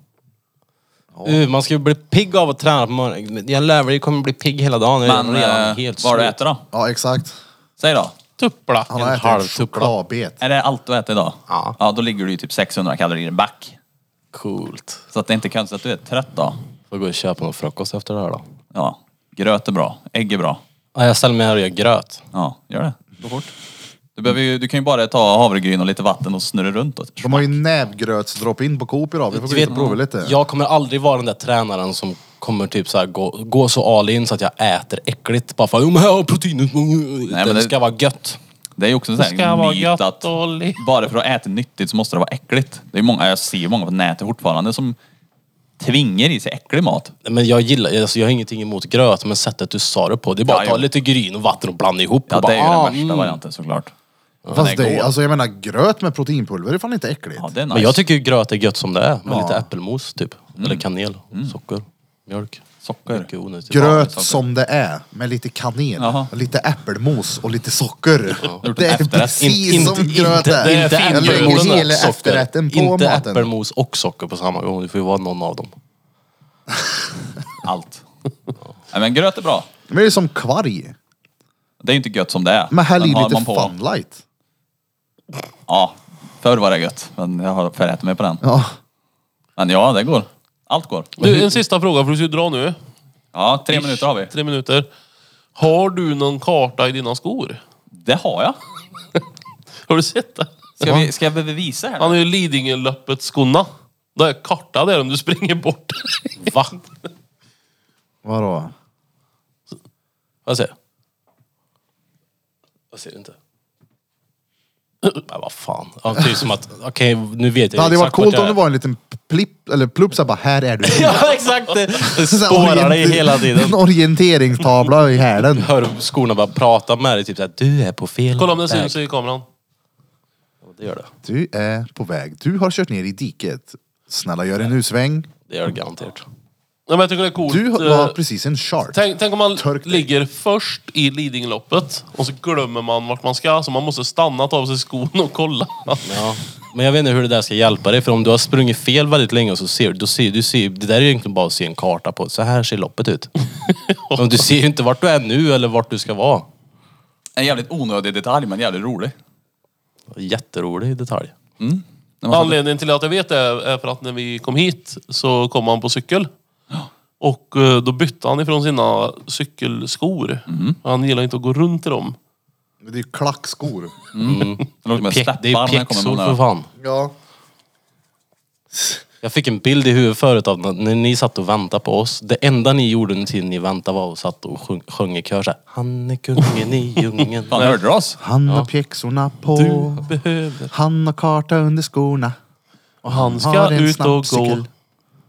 C: Uh, man ska ju bli pigg av att träna på morgonen. Men Jag lär dig kommer bli pigg hela dagen. Jag är
B: Men
C: redan
B: eh,
C: helt
B: vad har du
C: slut.
B: ätit då?
A: Ja exakt.
B: Säg då.
D: Tuppla.
A: Han har ätit
C: halv
A: en
C: tuppla.
A: chokladbet.
B: Är det allt du äter idag?
C: Ja.
B: Ja, då ligger du ju typ 600 kalorier back.
C: Coolt.
B: Så att det är inte konstigt att du är trött då.
C: Får gå och köpa någon frukost efter det här då.
B: Ja. Gröt är bra. Ägg är bra.
C: Ja, jag ställer mig här och gör gröt.
B: Ja, gör det. Gå fort. Du, behöver ju, du kan ju bara ta havregryn och lite vatten och snurra runt. Och...
A: De har ju nävgrötsdrop-in på Coop idag. Vi får gå
C: Du
A: ut
C: vet-
A: och prova lite.
C: Jag kommer aldrig vara den där tränaren som kommer typ så här gå, gå så all in så att jag äter äckligt. Bara för att "Jo, men här har proteinet.
B: men
C: det,
B: det-
C: ska vara gött.
B: Det är ju också så
D: Det ska
B: här
D: vara
B: myt
D: gött
B: att
D: och le-
B: bara för att äta nyttigt så måste det vara äckligt. Det är många, jag ser ju många på nätet fortfarande som tvingar i sig äcklig mat.
C: Nej, Men jag gillar, alltså jag har ingenting emot gröt, men sättet du sa det på. Det är bara
B: Ja,
C: att ta
B: jo.
C: lite gryn och vatten och blanda ihop.
B: Ja,
C: och bara,
B: det är ju den
C: "Ah,
B: värsta
C: mm."
B: varianten såklart.
A: Fast
B: den är
A: det, är-
B: god.
A: alltså jag menar gröt med proteinpulver är fan inte äckligt.
B: Ja, det är nice.
C: Men jag tycker ju gröt är gött som det är. Med lite äppelmos typ. Eller kanel, socker, mjölk.
B: Socker.
C: Mycket onödigt.
A: Gröt
B: socker.
A: som det är, med lite kanel,
B: Jaha.
A: lite äppelmos och lite socker.
B: Gjort
A: Det är
B: en efterrätt.
A: precis
C: liksom. In-
A: som
C: inte-
A: gröt
C: inte-
A: är.
C: inte
A: Jag lägger
C: äppelmos
A: hela
C: och socker.
A: efterrätten på
C: Inte
A: maten.
C: äppelmos och socker på samma gång. Det får ju vara någon av dem.
B: Allt. Nej, men gröt är bra.
A: Men det är som kvarg.
B: Det är ju inte gött som det är.
A: Men häll i
B: har
A: lite
B: man på-
A: funlight.
B: Ja, förr var det gött. Men jag har förätit mig på den.
A: Ja.
B: Men ja, det går. Allt går.
D: Du, en sista fråga för du ska ju dra nu.
B: Ja, tre minuter har vi.
D: Tre minuter. Har du någon karta i dina skor?
B: Det har jag.
D: Har du sett det?
B: Ska, vi, ska jag bevisa här?
D: Han är ju Lidingöloppet skorna. Det är karta där om du springer bort.
C: Va?
A: Vadå?
C: Vad säger jag? Jag ser inte. Men vad fan. Ja, typ som att, okej nu vet jag
A: Det hade ju varit
C: exakt vart
A: coolt
C: jag
A: om det
C: är.
A: var en liten plipp, eller plupp såhär bara, här är du.
C: Ja exakt! Det, <laughs>
A: <laughs>
C: det
A: Så här
C: spårar dig
A: orient-
C: hela
A: <laughs>
C: tiden.
A: En orienteringstavla i hälen.
C: Hör skorna bara prata med dig. Typ såhär, du är på fel
D: Kolla om det
C: väg.
D: syns i kameran.
C: Det gör det.
A: Du är på väg. Du har kört ner i diket. Snälla gör en U-sväng.
C: Det gör det garanterat.
D: Nej, men jag tycker det är coolt.
A: Du
D: Eh,
A: var precis en shark.
D: Tänk, tänk om man
A: Törk dig.
D: ligger först i Lidingöloppet och så glömmer man vart man ska så man måste stanna, ta av sig skon och kolla.
C: Ja. Men jag vet inte hur det där ska hjälpa dig. För om du har sprungit fel väldigt länge och så ser du, då ser du, ser, det där är ju egentligen bara att se en karta på. Så här ser
B: <laughs>
C: loppet ut. Men du ser ju inte vart du är nu eller vart du ska vara.
B: En jävligt onödig detalj, men jävligt rolig.
C: Jätterolig detalj.
B: När man satt-
D: Anledningen till att jag vet det är är för att när vi kom hit så kom han på cykel. Och eh, då bytte han ifrån sina cykelskor. Han gillar inte att gå runt i dem.
A: Det är ju klackskor.
B: Det låter mer
C: Pjäk, det är
B: steppar
C: ju
B: när jag kommer
C: pjäxor
B: med
C: för
B: den här.
C: fan.
A: <laughs> Ja.
C: Jag fick en bild i huvudet förut av när- när ni satt och väntade på oss. Det enda ni gjorde under tiden ni väntade var att satt och sjung, sjöng i kör såhär. Han är kungen i djungeln.
B: Fan, hörde du oss?
A: Han har pjäxorna på.
D: Du behöver...
A: Han har karta under skorna.
D: Och han
A: har
D: ska
A: en
D: ut och gå.
A: snabbcykel.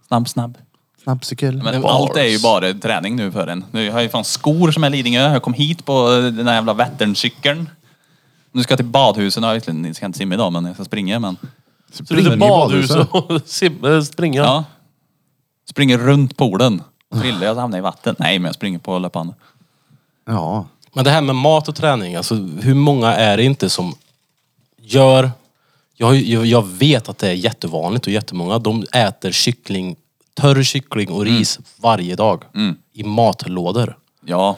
B: Snabb, snabb.
A: Snabbcykel.
B: Men
C: Bars.
B: allt är ju bara träning nu för en. Nu har jag ju fan skor som är Lidingö. Jag kom hit på eh, den där jävla Vätterncykeln. Nu ska jag till badhusen. Ja, egentligen, jag ska inte simma idag men jag ska springa. Men,
D: Så du är
A: i
D: till badhuset
A: badhuset.
D: och <laughs> sim- eh, springa.
B: ja. Springer runt poolen. Trillar jag så hamnar jag i vatten. Nej men jag springer på löpande.
A: Ja.
C: Men det här med mat och träning, alltså hur många är det inte som gör... Jag, har ju- jag, jag vet att det är jättevanligt och jättemånga, de äter kyckling, törr kyckling och
B: Mm.
C: ris varje dag. I matlådor.
B: Ja.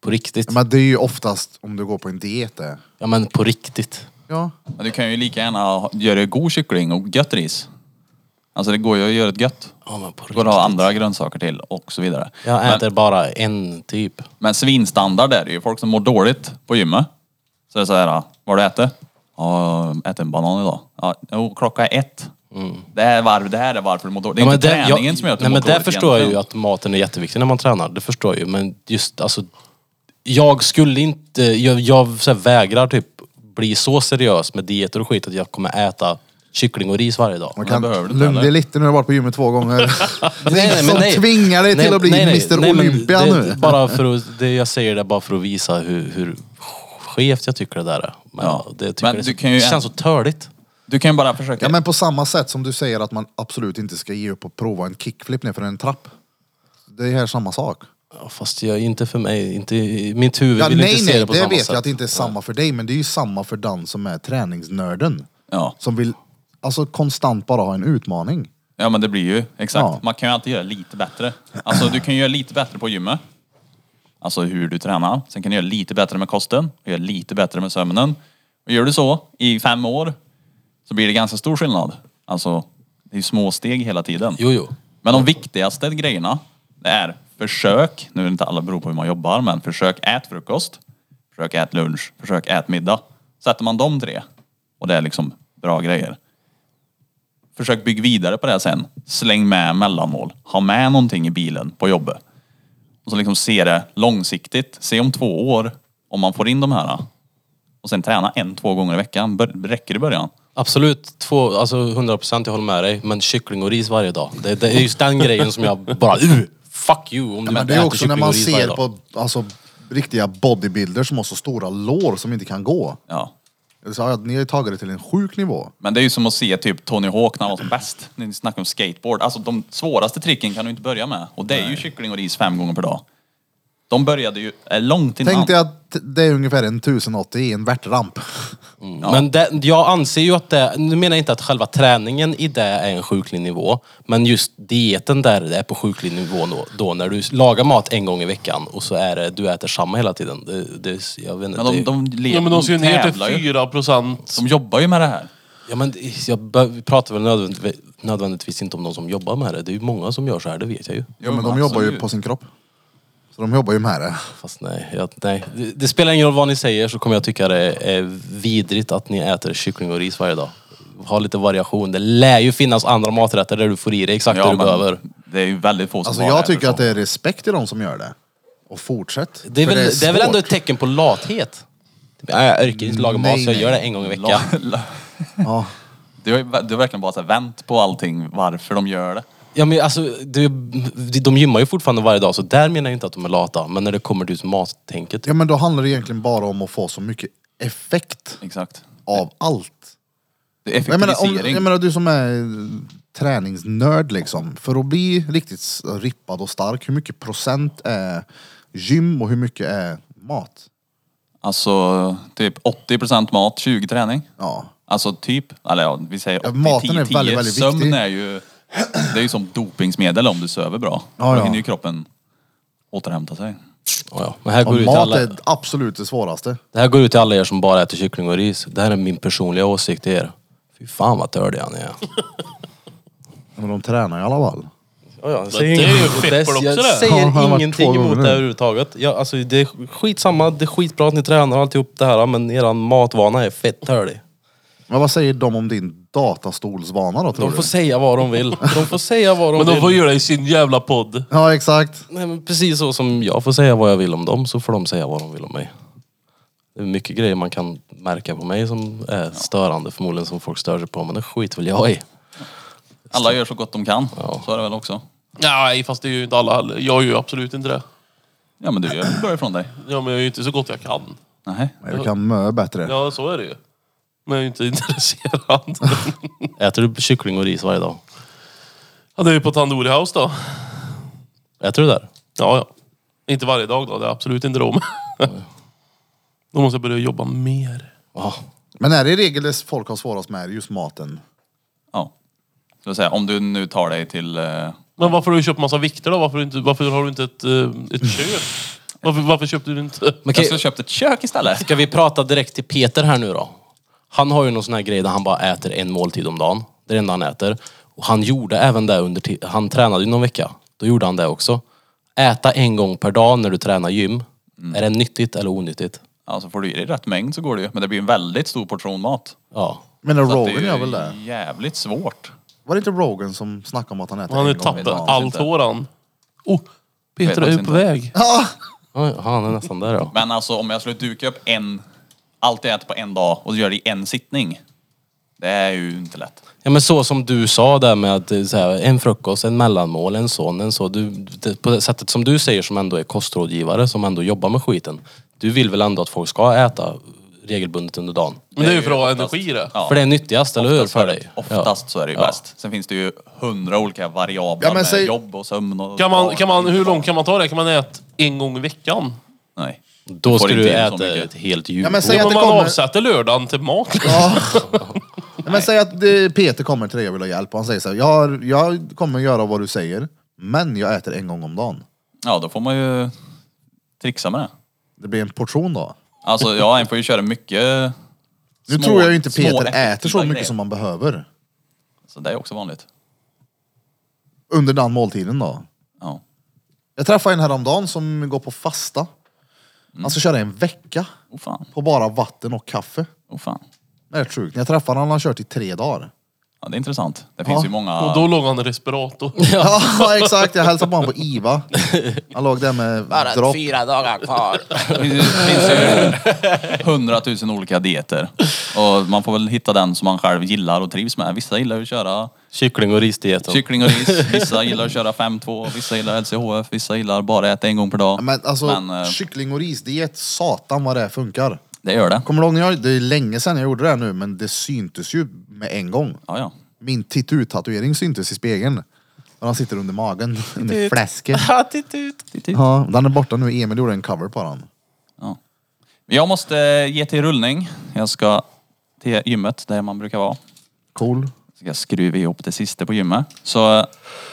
C: På riktigt.
A: Men det är ju oftast om du går på en diet det.
C: Ja men på riktigt.
A: Ja.
B: Men du kan ju lika gärna ha- göra god kyckling och gött ris. Alltså det går ju att göra ett gött.
C: Ja, men på
B: Det går att ha
C: riktigt.
B: andra grönsaker till och så vidare.
C: Jag
B: men,
C: äter bara en typ.
B: Men svinstandard är det ju. Folk som mår dåligt på gymmet. Så det är så här, "Ah, vad har du ätit? Ja, jag äter en banan idag. Ja, jo, klockan är ett. Det, här är var, det här är varför du mår dåligt. Det är
C: Mm. Ja, men
B: inte
C: det-
B: träningen
C: jag-
B: som gör att du
C: Nej
B: mår
C: men där
B: dåligt
C: förstår jag ju
B: egentligen.
C: att maten är jätteviktig när man tränar. Det förstår jag ju. Men just alltså. Jag skulle inte, jag, jag så här, vägrar typ bli så seriös med dieter och skit att jag kommer äta kyckling och ris varje dag.
A: Man
B: det
A: kan
B: behöver du inte
A: lugna dig
B: heller.
A: lite nu har du varit på gymmet två
C: <laughs>
A: gånger. det är
C: Nej, nej,
A: ingen
C: men
A: som
C: nej.
A: tvingar dig till
C: Nej,
A: att bli
C: nej, nej.
A: Mr
C: Nej, men
A: Olympia
C: det,
A: nu.
C: Bara för att, det, jag säger det bara för att visa hur, hur skevt jag tycker det där är. Men,
B: Ja.
C: det, jag tycker
B: Men
C: det, är
B: du
C: så-
B: kan ju
C: det
B: ändå-
C: känns så törligt.
B: Du kan ju bara försöka.
A: Ja men på samma sätt som du säger att man absolut inte ska ge upp och prova en kickflip nerför en trapp. Det är här samma sak.
C: Ja, Fast jag, inte för mig, inte, i- mitt huvud
A: Ja,
C: vill
A: nej
C: inte se
A: nej,
C: det på
A: det
C: samma
A: vet
C: sätt.
A: jag att det inte är samma för dig men det är ju samma för den som är träningsnörden.
B: Ja.
A: Som vill alltså, konstant bara ha en utmaning.
B: ja, men det blir ju exakt.
A: Ja.
B: Man kan ju alltid göra lite bättre. Alltså du kan ju göra lite bättre på gymmet. Alltså hur du tränar. Sen kan du göra lite bättre med kosten. Och göra lite bättre med sömnen. Och gör du så i fem år så blir det ganska stor skillnad. Alltså det är ju små steg hela tiden.
C: Jo, jo.
B: Men de viktigaste grejerna det är försök, nu är det inte alla beror på hur man jobbar, men försök ät frukost, försök ät lunch, försök ät middag. Sätter man de tre och det är liksom bra grejer. Försök bygga vidare på det sen. Släng med mellanmål. Ha med någonting i bilen på jobbet. Och så liksom se det långsiktigt. Se om två år om man får in de här. Och sen träna en, två gånger i veckan. Bör- Räcker i början.
C: Absolut, två, alltså 100% jag håller med dig. Men kyckling och ris varje dag. Det, det är just den grejen som jag bara, uh, fuck you om du
A: Men det
C: inte
A: är
C: äter
A: också när
C: kyckling
A: man
C: och ris varje
A: ser
C: dag.
A: på alltså, riktiga bodybuilders som har så stora lår som inte kan gå.
B: Ja.
A: Så, ja, ni har ju tagit det till en sjuk nivå.
B: Men det är ju som att se typ Tony Hawk när han var som bäst. När ni snackar om skateboard. Alltså de svåraste tricken kan du inte börja med. Och det är ju kyckling och ris fem gånger per dag. De började ju eh, långt innan.
A: Tänk dig att det är ungefär en 1080 i en värtramp.
C: Mm. Men det, jag anser ju att det, nu menar jag inte att själva träningen i det är en sjuklig nivå. Men just dieten där det är på sjuklig nivå då, då när du lagar mat en gång i veckan och så är det, du äter samma hela tiden. Det, det, jag vet inte,
B: Men de,
C: det-
B: de, lever,
D: Ja, men de ska ju ner till
B: tävlar ju.
D: 4 procent.
B: De jobbar ju med det här.
C: Ja, men det- jag be- vi pratar väl nödvändigtvis, nödvändigtvis inte om de som jobbar med det. Det är ju många som gör så här, det vet jag ju.
A: Ja, men de jobbar ju
B: absolut.
A: på sin kropp. Så de jobbar ju med det.
C: Fast nej, jag, nej. Det, det spelar ingen roll vad ni säger så kommer jag tycka det är vidrigt att ni äter kyckling och ris varje dag. Ha lite variation. Det lär ju finnas andra maträtter där du får i dig exakt det
B: Ja,
C: du behöver.
B: men det är ju väldigt få som
A: Alltså
B: har
A: jag
B: det,
A: tycker
B: förstås.
A: att det är respekt till de som gör det. Och fortsätt.
C: Det är,
A: För
C: väl, det, är väl ändå
A: svårt.
C: ett tecken på lathet? Typ, nej, Jag orkar inte laga mat
A: Nej,
C: så jag
A: nej.
C: gör det en gång i veckan.
B: <laughs> La-
A: Ja.
B: Du har, ju ver- du har verkligen bara så här, vänt på allting, varför de gör det.
C: Ja, men alltså, det, de gymmar ju fortfarande varje dag så där menar jag inte att de är lata. Men när det kommer till mattänket.
A: ja men då handlar det egentligen bara om att få så mycket effekt
B: Exakt.
A: av allt.
B: Det är
A: Jag menar, om,
B: effektivisering.
A: jag menar du som är träningsnörd liksom. För att bli riktigt s- rippad och stark, hur mycket procent är gym och hur mycket är mat?
B: Alltså typ 80% mat, 20 träning.
A: Ja.
B: Alltså typ, eller ja, vi säger 80,
A: maten
B: 10,
A: är väldigt, väldigt
B: Sömn
A: viktig.
B: är ju, det är ju som dopingsmedel om du söver bra.
A: Ja,
B: Då
A: ja.
B: hinner ju kroppen återhämta sig.
C: Ja, ja. Men här går
A: Och
C: det ut till
A: mat
C: alla,
A: är absolut det svåraste.
C: det här går ut till alla er som bara äter kyckling och ris. Det här är min personliga åsikt till er. Fy fan vad tördiga ni är.
A: Men de tränar i alla fall.
C: Ja, ja, jag säger
D: det är
C: inget
D: ju
C: emot
D: skitbra
C: det.
D: också
C: Jag
D: det.
A: Ja, han har
C: säger
A: varit två
C: ingenting
A: gånger
C: emot
A: nu.
C: det överhuvudtaget. Jag, alltså, det är skitsamma, det är skitbra att ni tränar och alltihop det här men eran matvana är fett tölig.
A: Men vad säger de om din datastolsvana då tror
C: De får
A: du?
C: säga vad de vill. De får säga vad de
D: Men de
C: vill.
D: får göra det i sin jävla podd.
A: Ja exakt.
C: Nej, men precis så som jag får säga vad jag vill om dem så får de säga vad de vill om mig. Det är mycket grejer man kan märka på mig som är störande förmodligen som folk stör sig på men det skit väl jag i.
B: Alla gör så gott de kan. Så är det väl också.
D: Nej, fast det är ju inte alla heller. Jag gör ju absolut inte det.
B: Ja men du gör väl bra ifrån dig?
D: Ja, men jag är ju inte så gott jag kan.
B: Nej.
A: Nej, du kan mö bättre.
D: Ja, så är det ju. Men jag är ju inte <laughs> intresserad.
C: Äter du kyckling och ris varje dag?
D: ja, det är ju på Tandoori House då.
C: Äter du där?
D: Ja, ja. Inte varje dag då. Det är absolut inte Rom. <laughs> då måste jag börja jobba mer.
C: Ja.
A: Men är det i regel det folk har svårast med är just maten?
B: Ja. Så att säga, om du nu tar dig till... eh,
D: Men varför har du köpt massa vikter då? Varför, har du inte, varför har du inte ett, eh, ett kök? Varför, varför köpte du inte...
C: Men
B: Jag skulle ha köpt ett kök istället.
C: Ska vi prata direkt till Peter här nu då? Han har ju någon sån här grej där han bara äter en måltid om dagen. Det är det enda han äter. Och han gjorde även det under ti- Han tränade ju någon vecka. Då gjorde han det också. Äta en gång per dag när du tränar gym. Är det nyttigt eller onyttigt?
B: Ja, så får du i dig rätt mängd så går det ju. Men det blir en väldigt stor portion mat.
C: Ja.
A: Men
B: Så att
A: Rogan
B: ju
A: gör väl det?
B: jävligt svårt.
A: Var det inte Rogan som snackade om att han äter
D: Han har
A: en
D: ju
A: gång om
D: tappat
A: dagen?
D: allt
B: inte.
D: hår han. Oh,
B: Vet
D: Peter är
B: faktiskt
D: ju på
B: inte.
D: väg.
C: Oj, Han är nästan där ja.
B: Men alltså om jag skulle duka upp en... Allt jag äter på en dag och gör det i en sittning. Det är ju inte lätt.
C: Ja men så som du sa där med att eh, så här, en frukost, en mellanmål, en sån, en så. Du, det, på det sättet som du säger som ändå är kostrådgivare, som ändå jobbar med skiten. Du vill väl ändå att folk ska äta regelbundet under dagen?
D: Men det är ju för att ha
B: oftast-
D: energi det.
B: Ja.
C: För det är nyttigast, eller hur? För dig?
B: Alltså, Oftast
C: Ja.
B: så är det ju
C: Ja.
B: bäst. Sen finns det ju hundra olika variabler
A: Ja, men
B: med
A: säg-
B: jobb och sömn och...
D: Kan man, kan man, hur långt kan man ta det? Kan man äta en gång i veckan?
B: Nej. Får
C: Då ska
B: inte
C: du
B: in så
C: äta
B: mycket.
C: ett helt djur.
A: Ja, men säg
D: Ja,
A: att
D: men
A: det
D: man
A: kommer...
D: avsätter lördagen till mat.
A: Ja. <laughs> Men säg att det, Peter kommer till dig och vill ha hjälp och han säger så här, jag, har- jag kommer göra vad du säger, men jag äter en gång om dagen.
B: Ja, då får man ju trixa med det.
A: Det blir en portion då.
B: Alltså ja, en får ju köra mycket...
A: Nu
B: små-
A: tror jag ju inte
B: små
A: Peter
B: effektiva
A: äter så mycket
B: grejer.
A: som man behöver.
B: Så det är också vanligt.
A: Under den måltiden då.
B: Ja.
A: Jag träffade en häromdagen som går på fasta. Han ska köra en vecka
B: Oh fan.
A: på bara vatten och kaffe.
B: Oh fan.
A: Det är rätt sjukt. När jag träffade honom han har kört i tre dagar.
B: Ja, det är intressant. Det finns ju många...
D: Och då låg han i respirator.
A: <laughs> Ja, exakt. Jag hälsade på honom på IVA. Han låg där med dropp.
G: fyra dagar kvar.
B: Det finns ju, finns ju hundratusen olika dieter. Och man får väl hitta den som man själv gillar och trivs med. Vissa gillar ju att köra
C: Kyckling och risdieten.
B: kyckling och ris, vissa gillar att köra 5-2, vissa gillar LCHF, vissa gillar bara äta en gång per dag.
A: Men alltså,
B: Men, eh,
A: kyckling och risdiet, satan vad det funkar.
B: det gör det.
A: Kommer du ihåg när jag, det är länge sedan jag gjorde det här nu, men det syntes ju med en gång.
B: Ja, ja.
A: Min tittut-tatuering syntes i spegeln. Och den sitter under magen, <laughs> under fläsket. Ja, den är borta nu, Emil gjorde en cover på den.
B: Jag måste eh, ge till rullning. Jag ska till gymmet där man brukar vara.
A: Cool.
B: ska jag skruva ihop det sista på gymmet. Så eh,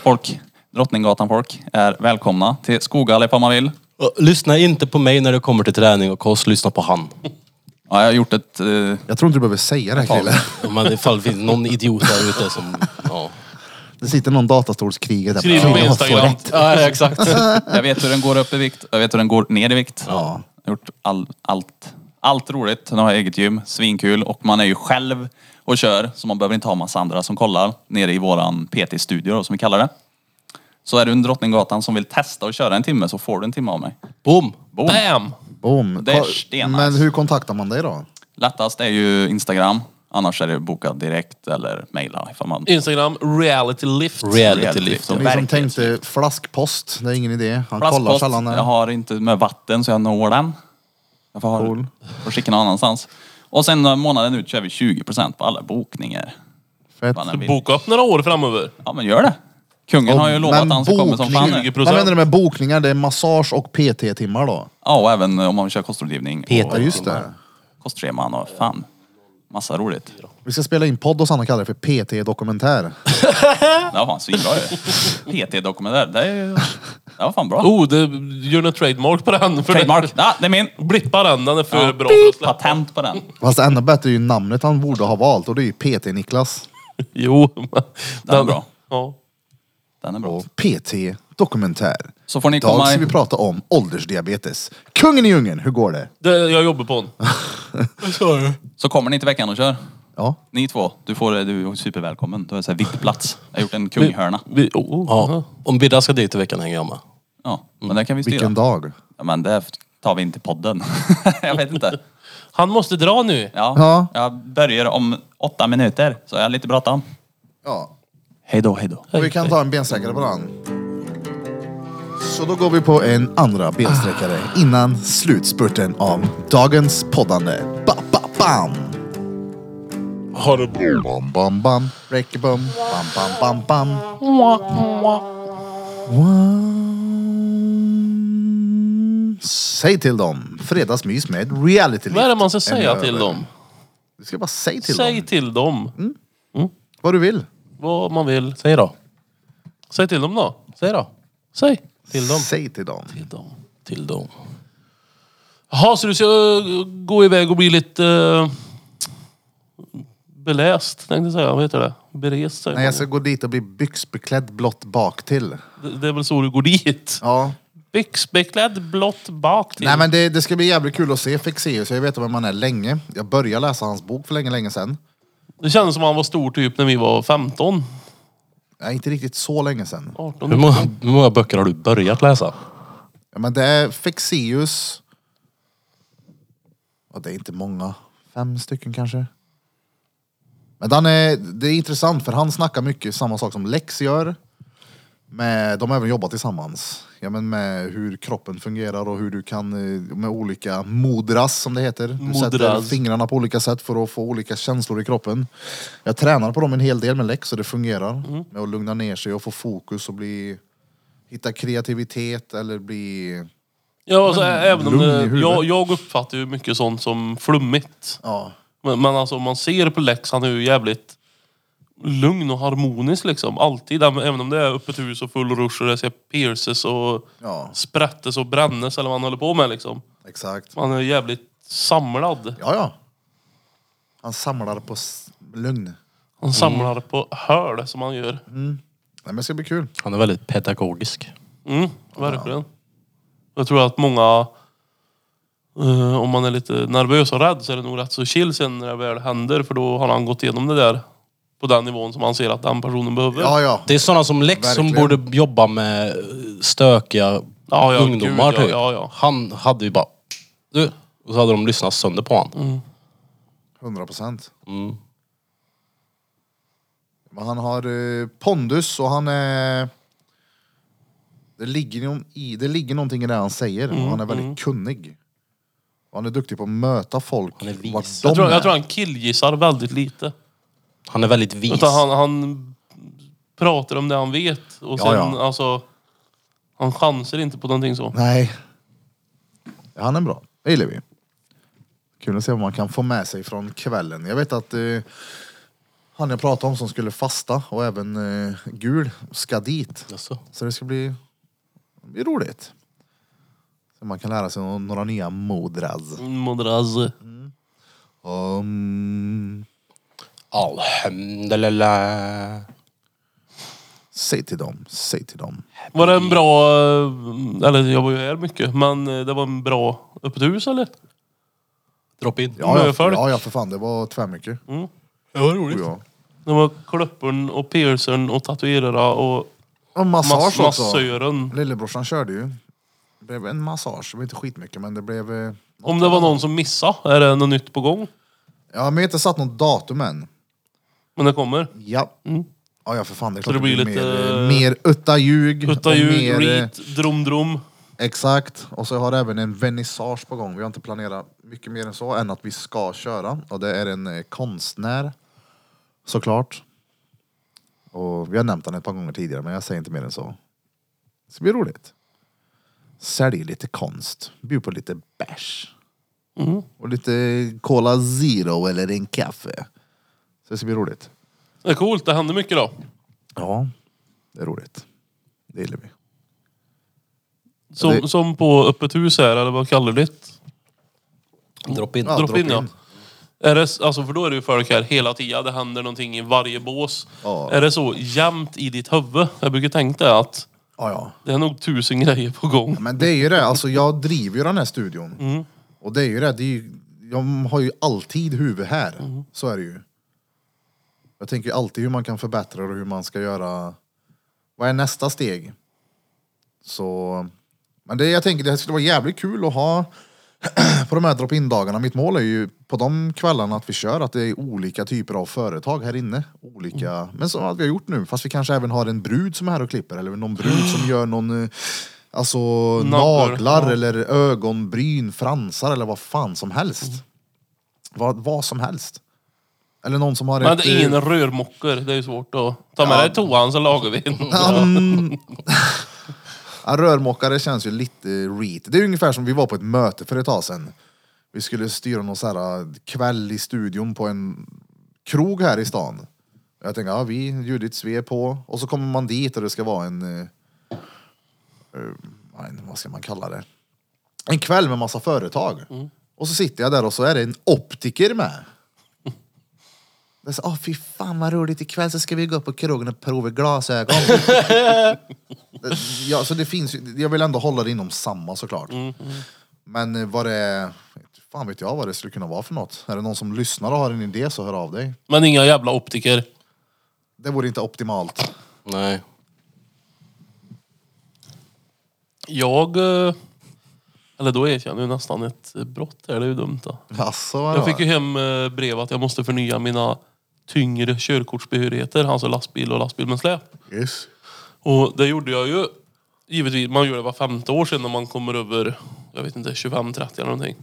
B: folk, Drottninggatan folk är välkomna till Skogallep om man vill.
C: Och Lyssna inte på mig när det kommer till träning och kost, lyssna på han.
B: Ja, jag har gjort ett... Eh,
A: Jag tror inte du behöver säga det här Krille.
C: Men ifall det finns någon idiot där ute som... Ja,
A: Det sitter någon datastolskrigare där.
D: Skriv på
A: Krille måste få
D: Instagram.
A: rätt.
C: ja exakt.
B: jag vet hur den går upp i vikt, jag vet hur den går ner i vikt. Ja. Jag har gjort all, allt, allt roligt. Nu har jag eget gym, svinkul. Och man är ju själv och kör, så man behöver inte ha massa andra som kollar. Nere i våran PT-studio då, som vi kallar det. Så är du en Drottninggatan som vill testa och köra en timme så får du en timme av mig.
C: Boom!
B: Boom.
D: Bam!
A: Boom.
B: Det är
A: Ko-
B: stenar.
A: Men hur kontaktar man dig då?
B: Lättast är ju Instagram. Annars är det bokad direkt eller mejla ifall man...
D: Instagram, reality lift.
C: Reality lift.
A: Ni som tänkte flaskpost, det är ingen idé. Han kollar
B: Plastpost,
A: sällan.
B: jag
A: här.
B: har inte med vatten så jag når den. Jag får, ha
A: Cool.
B: får skicka någon annanstans. Och sen när månaden ut kör vi 20% på alla bokningar.
A: Fett.
B: Vad den vill.
D: Boka upp några år framöver.
B: Ja men gör det. Kungen har ju lovat att
A: Men
B: han ska komma som fan. nu.
A: bokning- Vad menar du med bokningar? Det är massage och PT-timmar då?
B: Ja och även om man kör kostrådgivning.
A: Ja,
B: Och liksom
A: just det.
B: kostscheman och fan. Massa roligt.
A: Vi ska spela in podd och Sanna kallar det för PT-dokumentär.
B: Det var fan svinbra ju. PT-dokumentär. Det, är ju- det var fan bra.
D: Oh, det, gör ni trademark på den? För
B: Trademark. Ja, det är min.
D: det- Blippa den, den är för
B: Ja.
D: bra för att släppa.
B: Patent på den.
A: Fast ännu bättre är ju namnet han borde ha valt och det är ju PT-Niklas.
D: Jo. Den,
B: Den är bra.
D: Ja.
B: Den är bra.
A: och PT Dokumentär.
B: Så får ni
A: Idag
B: komma
A: ska
B: i-
A: vi prata om åldersdiabetes. Kungen i djungeln, hur går det?
D: Det, jag jobbar på den.
B: Så kommer ni till veckan och kör.
A: Ja,
B: Ni två, du, får, du är supervälkommen. Du har så här VIP-plats. Jag har gjort en kunghörna.
D: Vi, oh, oh.
C: Ja, om Birra ska dit i veckan hänger jag med.
B: Ja, men det kan vi
A: vilken
B: styra.
A: dag.
B: Ja, men det tar vi inte i podden. <laughs> jag vet inte.
D: Han måste dra nu.
B: Ja,
A: Ja.
B: Jag börjar om åtta minuter, så jag har lite bråttom.
A: Ja,
B: Hej då, hej då.
A: och vi kan ta en bensträckare på den. Så då går vi på en andra bensträckare
D: Ah.
A: innan slutspurten av dagens poddande. Ba, ba, bam!
C: Har du...
A: Bam, bam, bam. Räcker bum. Bam, bam, bam, bam. One. Säg till dem. Fredagsmys med reality
D: Vad är det
A: Lift.
D: man ska
A: En
D: säga
A: över.
D: till dem?
A: Du ska bara säga till
D: Säg
A: dem
D: till dem
A: vad du vill.
D: vad man vill.
C: Säg då.
D: Säg till dem då.
C: Säg då.
D: Säg till dem.
A: Säg till dem.
D: Till dem.
C: Till dem.
D: Jaha, så du ska eh, gå iväg och bli lite... eh, beläst, tänkte jag säga. Vad heter det? Berest, säger
A: Nej,
D: man.
A: jag ska gå dit och bli byxbeklädd blått bak till.
D: Det- Det är väl så du går dit?
A: Ja.
D: Byxbeklädd, blått bak till.
A: Nej men det, det ska bli jävligt kul att se Fexeus. Jag vet vem man är länge. Jag började läsa hans bok för länge, länge sedan.
D: Det kändes som han var stor typ när vi var 15,
A: Nej, inte riktigt så länge sedan.
D: 18.
C: Hur många, hur många böcker har du börjat läsa?
A: Ja, men det är E Fexeus. Och det är inte många. Fem stycken kanske. Men den är, det är intressant för han snackar mycket samma sak som Lex gör. Med, de har även jobbat tillsammans. Ja, men med hur kroppen fungerar och hur du kan eh, med olika modras som det heter. Du sätter
D: Mudras.
A: fingrarna på olika sätt för att få olika känslor i kroppen. Jag tränar på dem en hel del med Lex så det fungerar. Med att lugna ner sig och få fokus och bli, hitta kreativitet eller bli
D: Ja, alltså, ä- även om
A: Mm. lugn i
D: det,
A: huvudet.
D: jag, jag uppfattar ju mycket sånt som flummigt.
A: Ja,
D: Men, men alltså om man ser på Lex, han är ju jävligt lugn och harmonisk liksom. Alltid, även även om det är öppet hus och full rush och det ska pierces och
A: Ja.
D: sprättes och brännes eller vad han håller på med liksom.
A: exakt.
D: Han är jävligt samlad.
A: Ja, ja. Han samlar på s- lugn. Mm.
D: Han samlar på hörl som han gör.
A: Nej, men det ska bli kul.
C: Han är väldigt pedagogisk.
D: Mm, verkligen. Jag tror att många, eh, om man är lite nervös och rädd så är det nog rätt så chill sen när det väl händer. För då har han gått igenom det där på den nivån som han ser att den personen behöver.
A: Ja, ja.
C: Det är sådana som Lex som
A: Verkligen.
C: borde jobba med stökiga
D: Ja, ja,
C: ungdomar
D: gud, ja,
C: typ.
D: ja, ja.
C: Han hade ju bara... Du! Och så hade de lyssnat sönder på honom.
A: 100 procent. Men han har eh, pondus och han är... Det ligger, någon i, det ligger någonting i det han säger.
D: Mm,
A: och han är väldigt kunnig. Och han är duktig på att möta folk.
C: Han är vis.
A: vart de
D: Jag tror,
A: är.
D: jag tror han killgissar väldigt lite.
C: Han är väldigt vis.
D: Utan han, han pratar om det han vet. Och
A: Ja,
D: sen,
A: ja.
D: alltså... Han chansar inte på någonting så.
A: Nej. Ja, Han är bra. Det gillar vi. Kul att se vad man kan få med sig från kvällen. Jag vet att eh, han jag pratade om som skulle fasta och även eh, Gul ska dit.
C: Jaså?
A: Så det ska bli, det blir roligt. Så man kan lära sig no- några nya modras.
D: Modraz.
A: Um,
C: Alhamdulillah.
A: säg till dem, säg till dem.
D: Var det en bra... eh, Eller jag var ju här mycket. Men eh, det var en bra öppet hus eller?
C: Drop in.
D: Nu är
A: Ja, ja,
D: jag för det.
A: ja, ja för fan det var tvärmycket.
C: det var roligt.
A: Och, jag.
D: Det var klöppern och piercern och tatuerare och
A: och massage
D: mass
A: också.
D: massören.
A: Lillebrorsan körde ju. Det blev en massage, det var inte skitmycket men det blev... eh,
D: Om det var någon som missade, är det något nytt på gång?
A: Ja, men jag har inte satt något datum än.
D: Men det kommer.
A: Ja. Ja, ja för fan. Det, är
D: Så
A: klart
D: det
A: det
D: blir
A: mer,
D: lite-
A: eh, mer utta ljug.
D: Putta
A: och
D: ljud,
A: mer, eh,
D: reet, drum drum.
A: Exakt. Och så har jag även en vernissage på gång. Vi har inte planerat mycket mer än så, än att vi ska köra. Och det är en eh, konstnär, såklart. Och vi har nämnt honom ett par gånger tidigare, men jag säger inte mer än så. Det ska bli roligt. Sälj lite konst, bjud på lite bärs. Och lite Cola Zero eller en kaffe. Så det ska bli roligt.
D: Det är coolt, det händer mycket då.
A: Ja, det är roligt. Det gillar vi.
D: Som,
A: Ja, det-
D: som på öppet hus här, eller vad kallar du det?
C: Drop in.
A: Ja,
D: Drop in,
A: drop in.
D: ja. Är det, alltså för då är det ju folk här hela tiden, det händer någonting i varje bås.
A: Ja.
D: Är det så jämnt i ditt huvud? Jag brukar tänka det att
A: Ja, ja.
D: det är nog tusen grejer på gång.
A: Men det är ju det, alltså jag driver ju den här studion. Och det är ju det, det är ju, jag har ju alltid huvud här. Så är det ju. Jag tänker ju alltid hur man kan förbättra och hur man ska göra. Vad är nästa steg? Så, men det jag tänker, det skulle vara jävligt kul att ha <clears throat> på de här drop-in dagarna. Mitt mål är ju på de kvällarna att vi kör att det är olika typer av företag här inne. Olika,
D: Mm.
A: men som att vi har gjort nu. Fast vi kanske även har en brud som är här och klipper eller någon brud
D: <gasps>
A: som gör någon eh, Alltså naglar
D: ja.
A: eller ögonbryn, fransar eller vad fan som helst.
D: Mm.
A: Vad, vad som helst. Eller någon som har
D: Men
A: ett...
D: det är
A: eh,
D: ingen rörmokor, det är ju svårt att ta med dig toan så lagar vi en.
A: Um, ja, rörmokare känns ju lite reet. Det är ungefär som vi var på ett möte för ett tag sedan. Vi skulle styra någon så här äh, kväll i studion på en krog här i stan. Jag tänkte, ja vi, Judiths, vi är på. Och så kommer man dit och det ska vara en... eh, eh, nej, vad ska man kalla det? En kväll med massa företag. Och så sitter jag där och så är det en optiker med. Det är så, Åh, fy fan vad roligt, ikväll så ska vi gå upp på krogen och prova glasögon. ja, så det finns, ju- jag vill ändå hålla det inom samma såklart.
D: Mm,
A: Men eh, vad det fan vet jag vad det skulle kunna vara för något. Är det någon som lyssnar och har en idé så hör av dig.
D: Men inga jävla optiker.
A: Det vore inte optimalt.
C: Nej.
D: Jag... eh, Eller då erkänner jag ju nästan ett brott här, det är ju dumt då.
A: Alltså,
D: Jag fick ju hem eh, brev att jag måste förnya mina tyngre körkortsbehörigheter, alltså lastbil och lastbil med släp.
A: yes.
D: Och det gjorde jag ju, givetvis, man gör det var femte år sedan när man kommer över, jag vet inte, 25-30 eller någonting.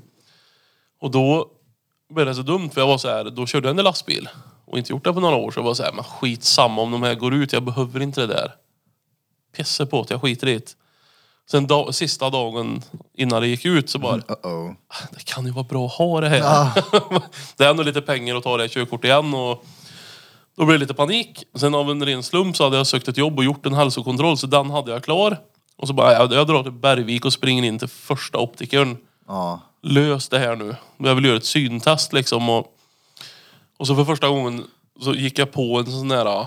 D: Och då blev det så dumt för jag var så här, då körde jag en lastbil och inte gjort det på några år så jag var så här, men skitsamma om de här går ut, jag behöver inte det där. Pissa på att jag skiter i det. Sen da- sista dagen innan det gick ut så bara,
A: Uh-oh.
D: det kan ju vara bra att ha det här.
A: Ja.
D: <laughs> det är ändå lite pengar att ta det här körkortet igen och då blev det lite panik. Sen av en ren slump så hade jag sökt ett jobb och gjort en hälsokontroll så den hade jag klar. Och så bara, jag, jag drar till Bergvik och springer in till första optikern.
A: Ja.
D: Lös det här nu. Jag vill göra ett syntest liksom. Och, och så för första gången så gick jag på en sån där...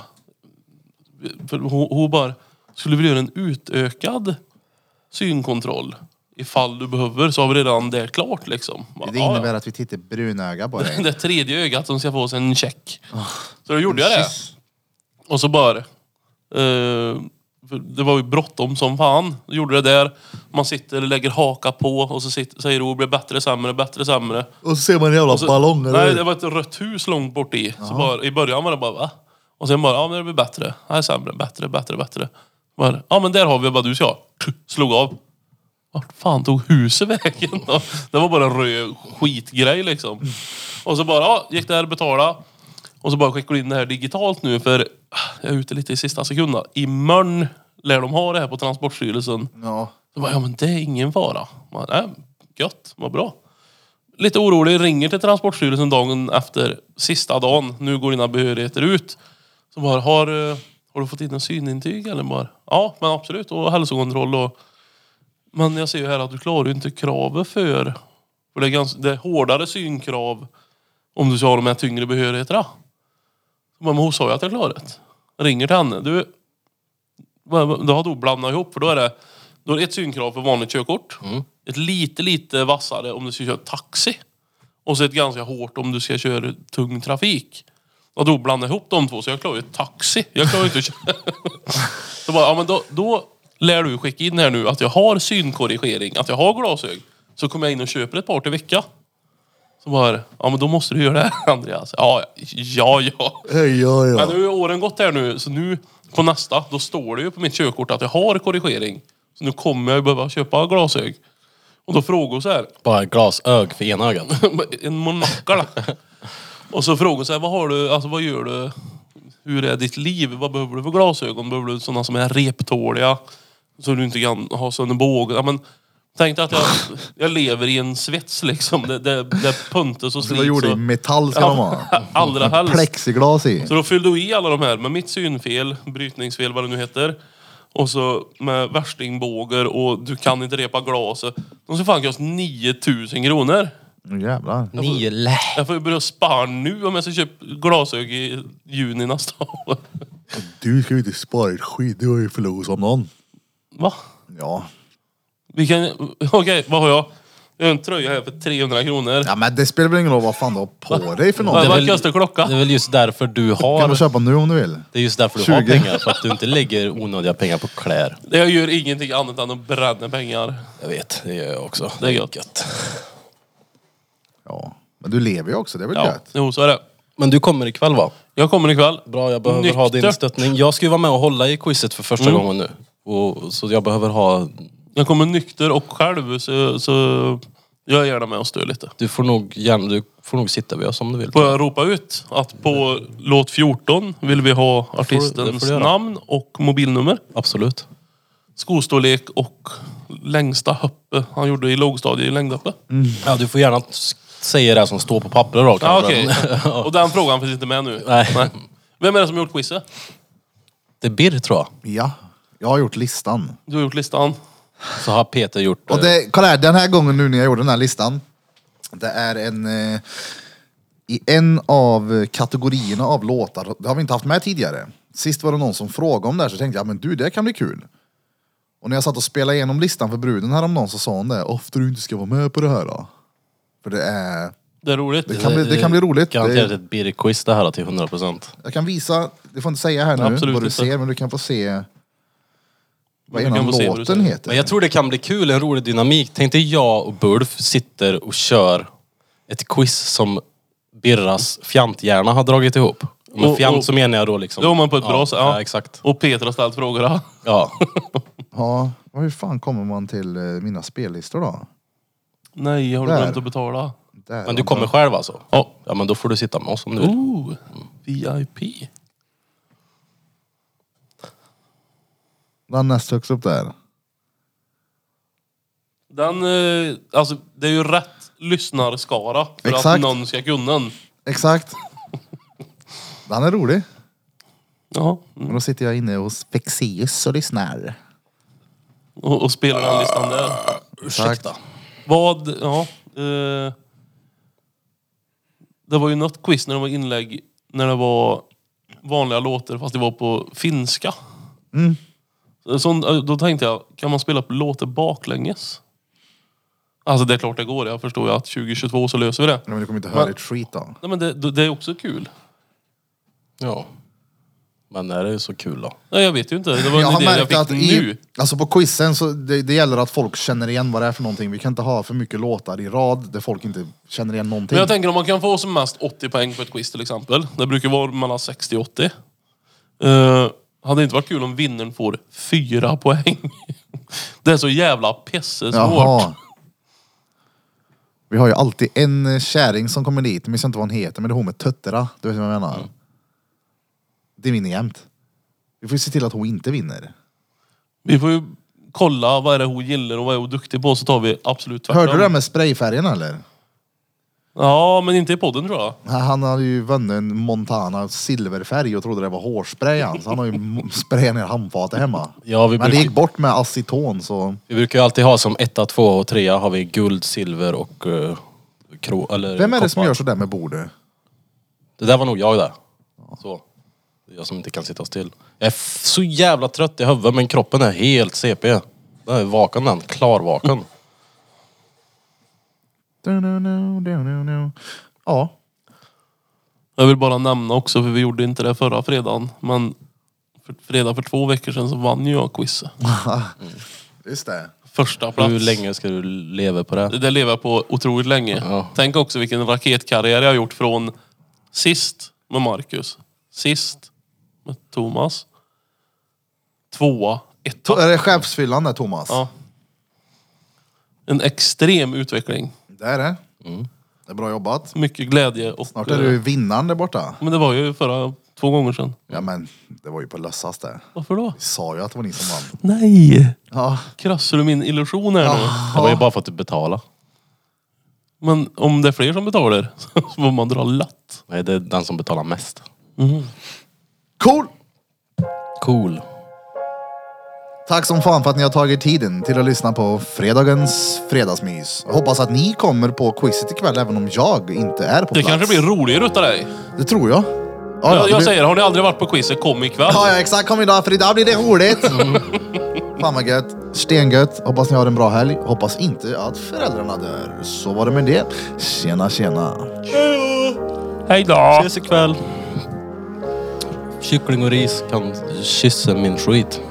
D: För hon, hon bara, skulle vi göra en utökad synkontroll? Ifall du behöver så har vi redan det klart liksom. Bara,
A: Det
D: "Ja, ja."
A: innebär att vi tittar brunöga på dig.
D: <laughs> det tredje ögat som ska få sig en check.
A: Ah.
D: Så då gjorde jag det.
A: Kyss.
D: Och så bara... eh, för det var ju bråttom som fan. Jag gjorde det där. Man sitter och lägger haka på och så sitter, säger ord blir bättre, sämre, bättre, sämre.
A: Och så ser man en jävla
D: Så,
A: ballong.
D: nej, det var ett rött hus långt bort i. Så bara, I början var det bara va? Och sen bara, ja men det blir bättre. Nej, sämre, bättre, bättre, bättre. Bara, ja men där har vi vad du sa. Slog av. Vart fan tog huset vägen då? Det var bara en röd skitgrej liksom. Och så bara, ja, gick där, betala. Och så bara skickar du in det här digitalt nu för ah, jag är ute lite i sista sekunden. Imorgon lär de ha det här på Transportstyrelsen.
A: Ja.
D: Så bara, ja men det är ingen fara. Man, nej, gött, vad bra. Lite orolig, ringer till Transportstyrelsen dagen efter sista dagen. Nu går dina behörigheter ut. Så bara, har, eh, har du fått in en synintyg eller? Bara, ja, men absolut. Och hälsokontroll och... Men jag ser ju här att du klarar ju inte kravet för... För det är, ganska, det är hårdare synkrav om du ska ha de här tyngre behörigheterna. Så bara, Men hon sa ju att jag klarar det. Ringer till henne. Du, vad- vad- Då har du blandat ihop för då är det, då är det ett synkrav för vanligt körkort. Ett lite, lite vassare om du ska köra taxi. Och så ett ganska hårt om du ska köra tung trafik. Och då blandar jag ihop de två så jag klarar ju taxi. Jag klarar ju inte att köra. så bara, ja, men då, då lär du skicka in här nu att jag har synkorrigering, att jag har glasögon. Så kommer jag in och köper ett par till vecka. Så bara, ja men då måste du göra det här <laughs> Andreas. Ja, ja, ja.
A: Hej, ja, ja.
D: Men nu har ju åren gått här nu, så nu på nästa, då står det ju på mitt körkort att jag har korrigering. Så nu kommer jag ju behöva köpa glasög. Och då frågar hon så här, <laughs>
C: Bara ett glasög för ena ögat.
D: en monokel. Och så frågar hon så här, vad har du, alltså vad gör du? Hur är ditt liv? Vad behöver du för glasögon? Behöver du sådana som är reptåliga? Så du inte kan ha sönder bågen? Ja, men tänk
A: <laughs>
D: dig att jag, jag lever i en svets liksom. Det, det, det är puntes och
A: Det var gjort
D: slits.
A: i
D: och-
A: metall ska de
D: Ja,
A: ha.
D: <laughs> allra helst.
A: Plexiglas i.
D: Så då fyllde du i alla de här med mitt synfel, brytningsfel, vad det nu heter. Och så med värstingbågar och du kan inte repa glaset. De ska fan kosta 9000 kronor.
A: Nu jävlar.
C: Nio lä.
D: Jag får ju börja spara nu om jag ska köpa glasögon i juni nästa år. <laughs>
A: Du ska ju inte spara ett skit, du har ju förlorat som någon.
D: Va?
A: Ja.
D: Vi kan... <laughs> Okej, vad har jag? Jag har en tröja här för 300 kronor.
A: Ja men det spelar väl ingen roll vad fan du har
C: <laughs>
A: på dig för
D: Vad,
A: någonting.
D: vad kostar klockan?
C: Det är väl just därför du
A: kan du
C: har...
A: köpa nu om du vill.
C: Det är just därför du har
A: 20.
C: pengar. För att du inte lägger onödiga pengar på kläder.
D: Jag gör ingenting annat än att bränna pengar.
C: Jag vet, det gör jag också.
D: Det är gött.
A: Ja. Men du lever ju också, det är väl
D: Ja,
A: gött?
D: jo så är det.
C: Men du kommer ikväll va?
D: Jag kommer ikväll.
C: Bra, jag behöver ha din
D: Nyktert.
C: stöttning. Jag ska ju vara med och hålla i quizet för första
D: Mm.
C: gången nu. Och, så jag behöver ha...
D: Jag kommer nykter och själv så, så jag är gärna med och stör lite.
C: Du får nog, gärna, du får nog sitta vid oss om du vill.
D: Får jag ropa ut att på låt 14 vill vi ha
C: det
D: artistens
C: får du göra.
D: namn och mobilnummer,
C: Absolut.
D: skostorlek och längsta hoppe han gjorde i lågstadiet i längdhoppe.
C: Ja, du får gärna s- säga det som står på pappret då
D: Ja,
C: kanske.
D: okej. <laughs> Och den frågan finns inte med nu.
C: Nej.
D: Vem är det som har gjort quizet?
C: Det är Birr tror jag.
A: Ja. Jag har gjort listan.
D: Du har gjort listan.
C: Så har Peter gjort...
A: Och
C: eh,
A: det, kolla här, den här gången nu när jag gjorde den här listan. Det är en... Eh, I en av kategorierna av låtar, det har vi inte haft med tidigare. Sist var det någon som frågade om det här så tänkte jag, men du det kan bli kul. Och när jag satt och spelade igenom listan för bruden häromdagen så sa hon det, ofta du inte ska vara med på det här då. För det är...
D: Det är roligt.
A: Det kan bli, det kan bli roligt.
C: eh, Garanterat
A: Det,
C: ett Birr-quiz det här till 100%.
A: jag kan visa, du får inte säga här nu
D: Absolut
A: vad du
D: inte.
A: ser, men du kan få se vad
D: Du kan
A: ena
D: få se vad du
A: låten
D: säger.
A: heter.
C: Men jag tror det kan bli kul, en rolig dynamik. Tänk dig jag och Bulf sitter och kör ett quiz som Birras fjanthjärna har dragit ihop.
D: Och-
C: Med fjant
D: och-
C: så menar jag då liksom...
D: Då är man på ett bra sätt.
C: Ja, ja, exakt.
D: Och Peter har ställt frågorna. <laughs>
C: Ja.
A: Ja, och hur fan kommer man till eh, mina spellistor då?
D: Nej, har du
A: Där.
D: glömt att betala?
A: Där,
C: Men du kommer själv alltså?
D: Ja.
C: Ja Oh, men då får du sitta med oss om du vill.
D: Ooh, VIP.
A: Den näst högst upp där.
D: Den, eh, alltså det är ju rätt lyssnarskara för att
A: Exakt.
D: någon ska kunna den.
A: Exakt. Den är rolig.
D: Ja,
A: Men då sitter jag inne hos Fexeus och lyssnar.
D: och, och spela den listan där.
A: Ursäkta.
D: Vad, ja. Eh, det var ju något quiz när det var inlägg när det var vanliga låtar fast det var på finska.
A: Mm.
D: Sån, eh, då tänkte jag, kan man spela på låtar baklänges? Alltså det är klart det går, jag förstår ju att 2022 så löser vi det.
A: Men du kommer inte
D: Men-
A: höra ett skit då.
D: Nej men det, det är också kul.
C: Ja. Men är det ju så kul då?
D: Nej, jag vet ju inte, det var en
A: Jag har
D: idé jag
A: märkt
D: fick
A: att
D: nu.
A: i, alltså på quizen så det, det gäller att folk känner igen vad det är för någonting. Vi kan inte ha för mycket låtar i rad där folk inte känner igen någonting.
D: Men jag tänker om man kan få som mest 80 poäng på ett quiz till exempel. Det brukar vara mellan 60 och 80. Uh, hade det inte varit kul om vinnaren får fyra poäng? <laughs> Det är så jävla pissesvårt.
A: Jaha. Vi har ju alltid en eh, kärring som kommer dit. Jag minns inte vad hon heter, men det är hon med tötterna. Du vet vad jag menar? Det vinner jämt. Vi får ju se till att hon inte vinner.
D: Vi får ju kolla vad är det hon gillar och vad är hon duktig på så tar vi absolut tvärtom.
A: Hörde du det här med sprayfärgen eller?
D: Ja, men inte i podden tror jag.
A: Han- Han hade ju vunnit en Montana silverfärg och trodde det var hårspray han. Så han har ju m- <laughs> sprayat ner handfatet hemma.
C: Ja, vi
A: Men det
C: brukar-
A: gick bort med aceton så...
C: Vi brukar ju alltid ha som etta, tvåa och trea har vi guld, silver och uh, kro, eller
A: Vem är det som
C: koppar.
A: gör sådär med bordet?
C: Det där var nog jag där. Så. Det är Jag som inte kan sitta still. Jag är f- så jävla trött i huvudet men kroppen är helt CP. Den är vaken den, klarvaken. <laughs>
A: Ja.
D: Jag vill bara nämna också, för vi gjorde inte det förra fredagen, men för, fredag för två veckor sedan så vann ju jag quizet.
A: Just det.
D: Första plats.
C: Hur länge ska du leva på det?
D: Det där lever jag på otroligt länge.
C: Ja.
D: Tänk också vilken raketkarriär jag har gjort från sist med Marcus, sist med Thomas, tvåa, ett.
A: Är det chefsfyllan där Thomas?
D: Ja. En extrem utveckling.
A: Det är det.
D: Mm.
A: Det är bra jobbat.
D: Mycket glädje och... eh,
A: Snart är du vinnaren där borta.
D: Men det var ju förra två gånger sedan.
A: Ja men, det var ju på lössas det.
D: Varför då?
A: Vi sa ju att det var ni som vann.
D: Nej!
A: Ja.
D: Krossar du min illusion här
A: Ah.
D: nu?
C: Det var ju bara för att du betalade.
D: Men om det är fler som betalar <laughs> så får man dra latt.
C: Nej, det är den som betalar mest.
A: Cool!
C: Cool.
A: Tack som fan för att ni har tagit tiden till att lyssna på fredagens fredagsmys. Jag hoppas att ni kommer på quizet ikväll även om jag inte är på
D: Det
A: plats.
D: kanske blir roligare utav dig.
A: Det tror jag. Ja, ja, det
D: Jag,
A: blir-
D: jag säger, har ni aldrig varit på quizet, kom ikväll.
A: Ja, ja, exakt. Kom idag för idag blir det roligt.
D: <laughs> Mm.
A: Fan vad gött. Stengött. Hoppas ni har en bra helg. Hoppas inte att föräldrarna dör. Så var det med det. Tjena, tjena.
D: Hej då!
B: Ses ikväll.
C: Kyckling och ris kan kyssa min skit.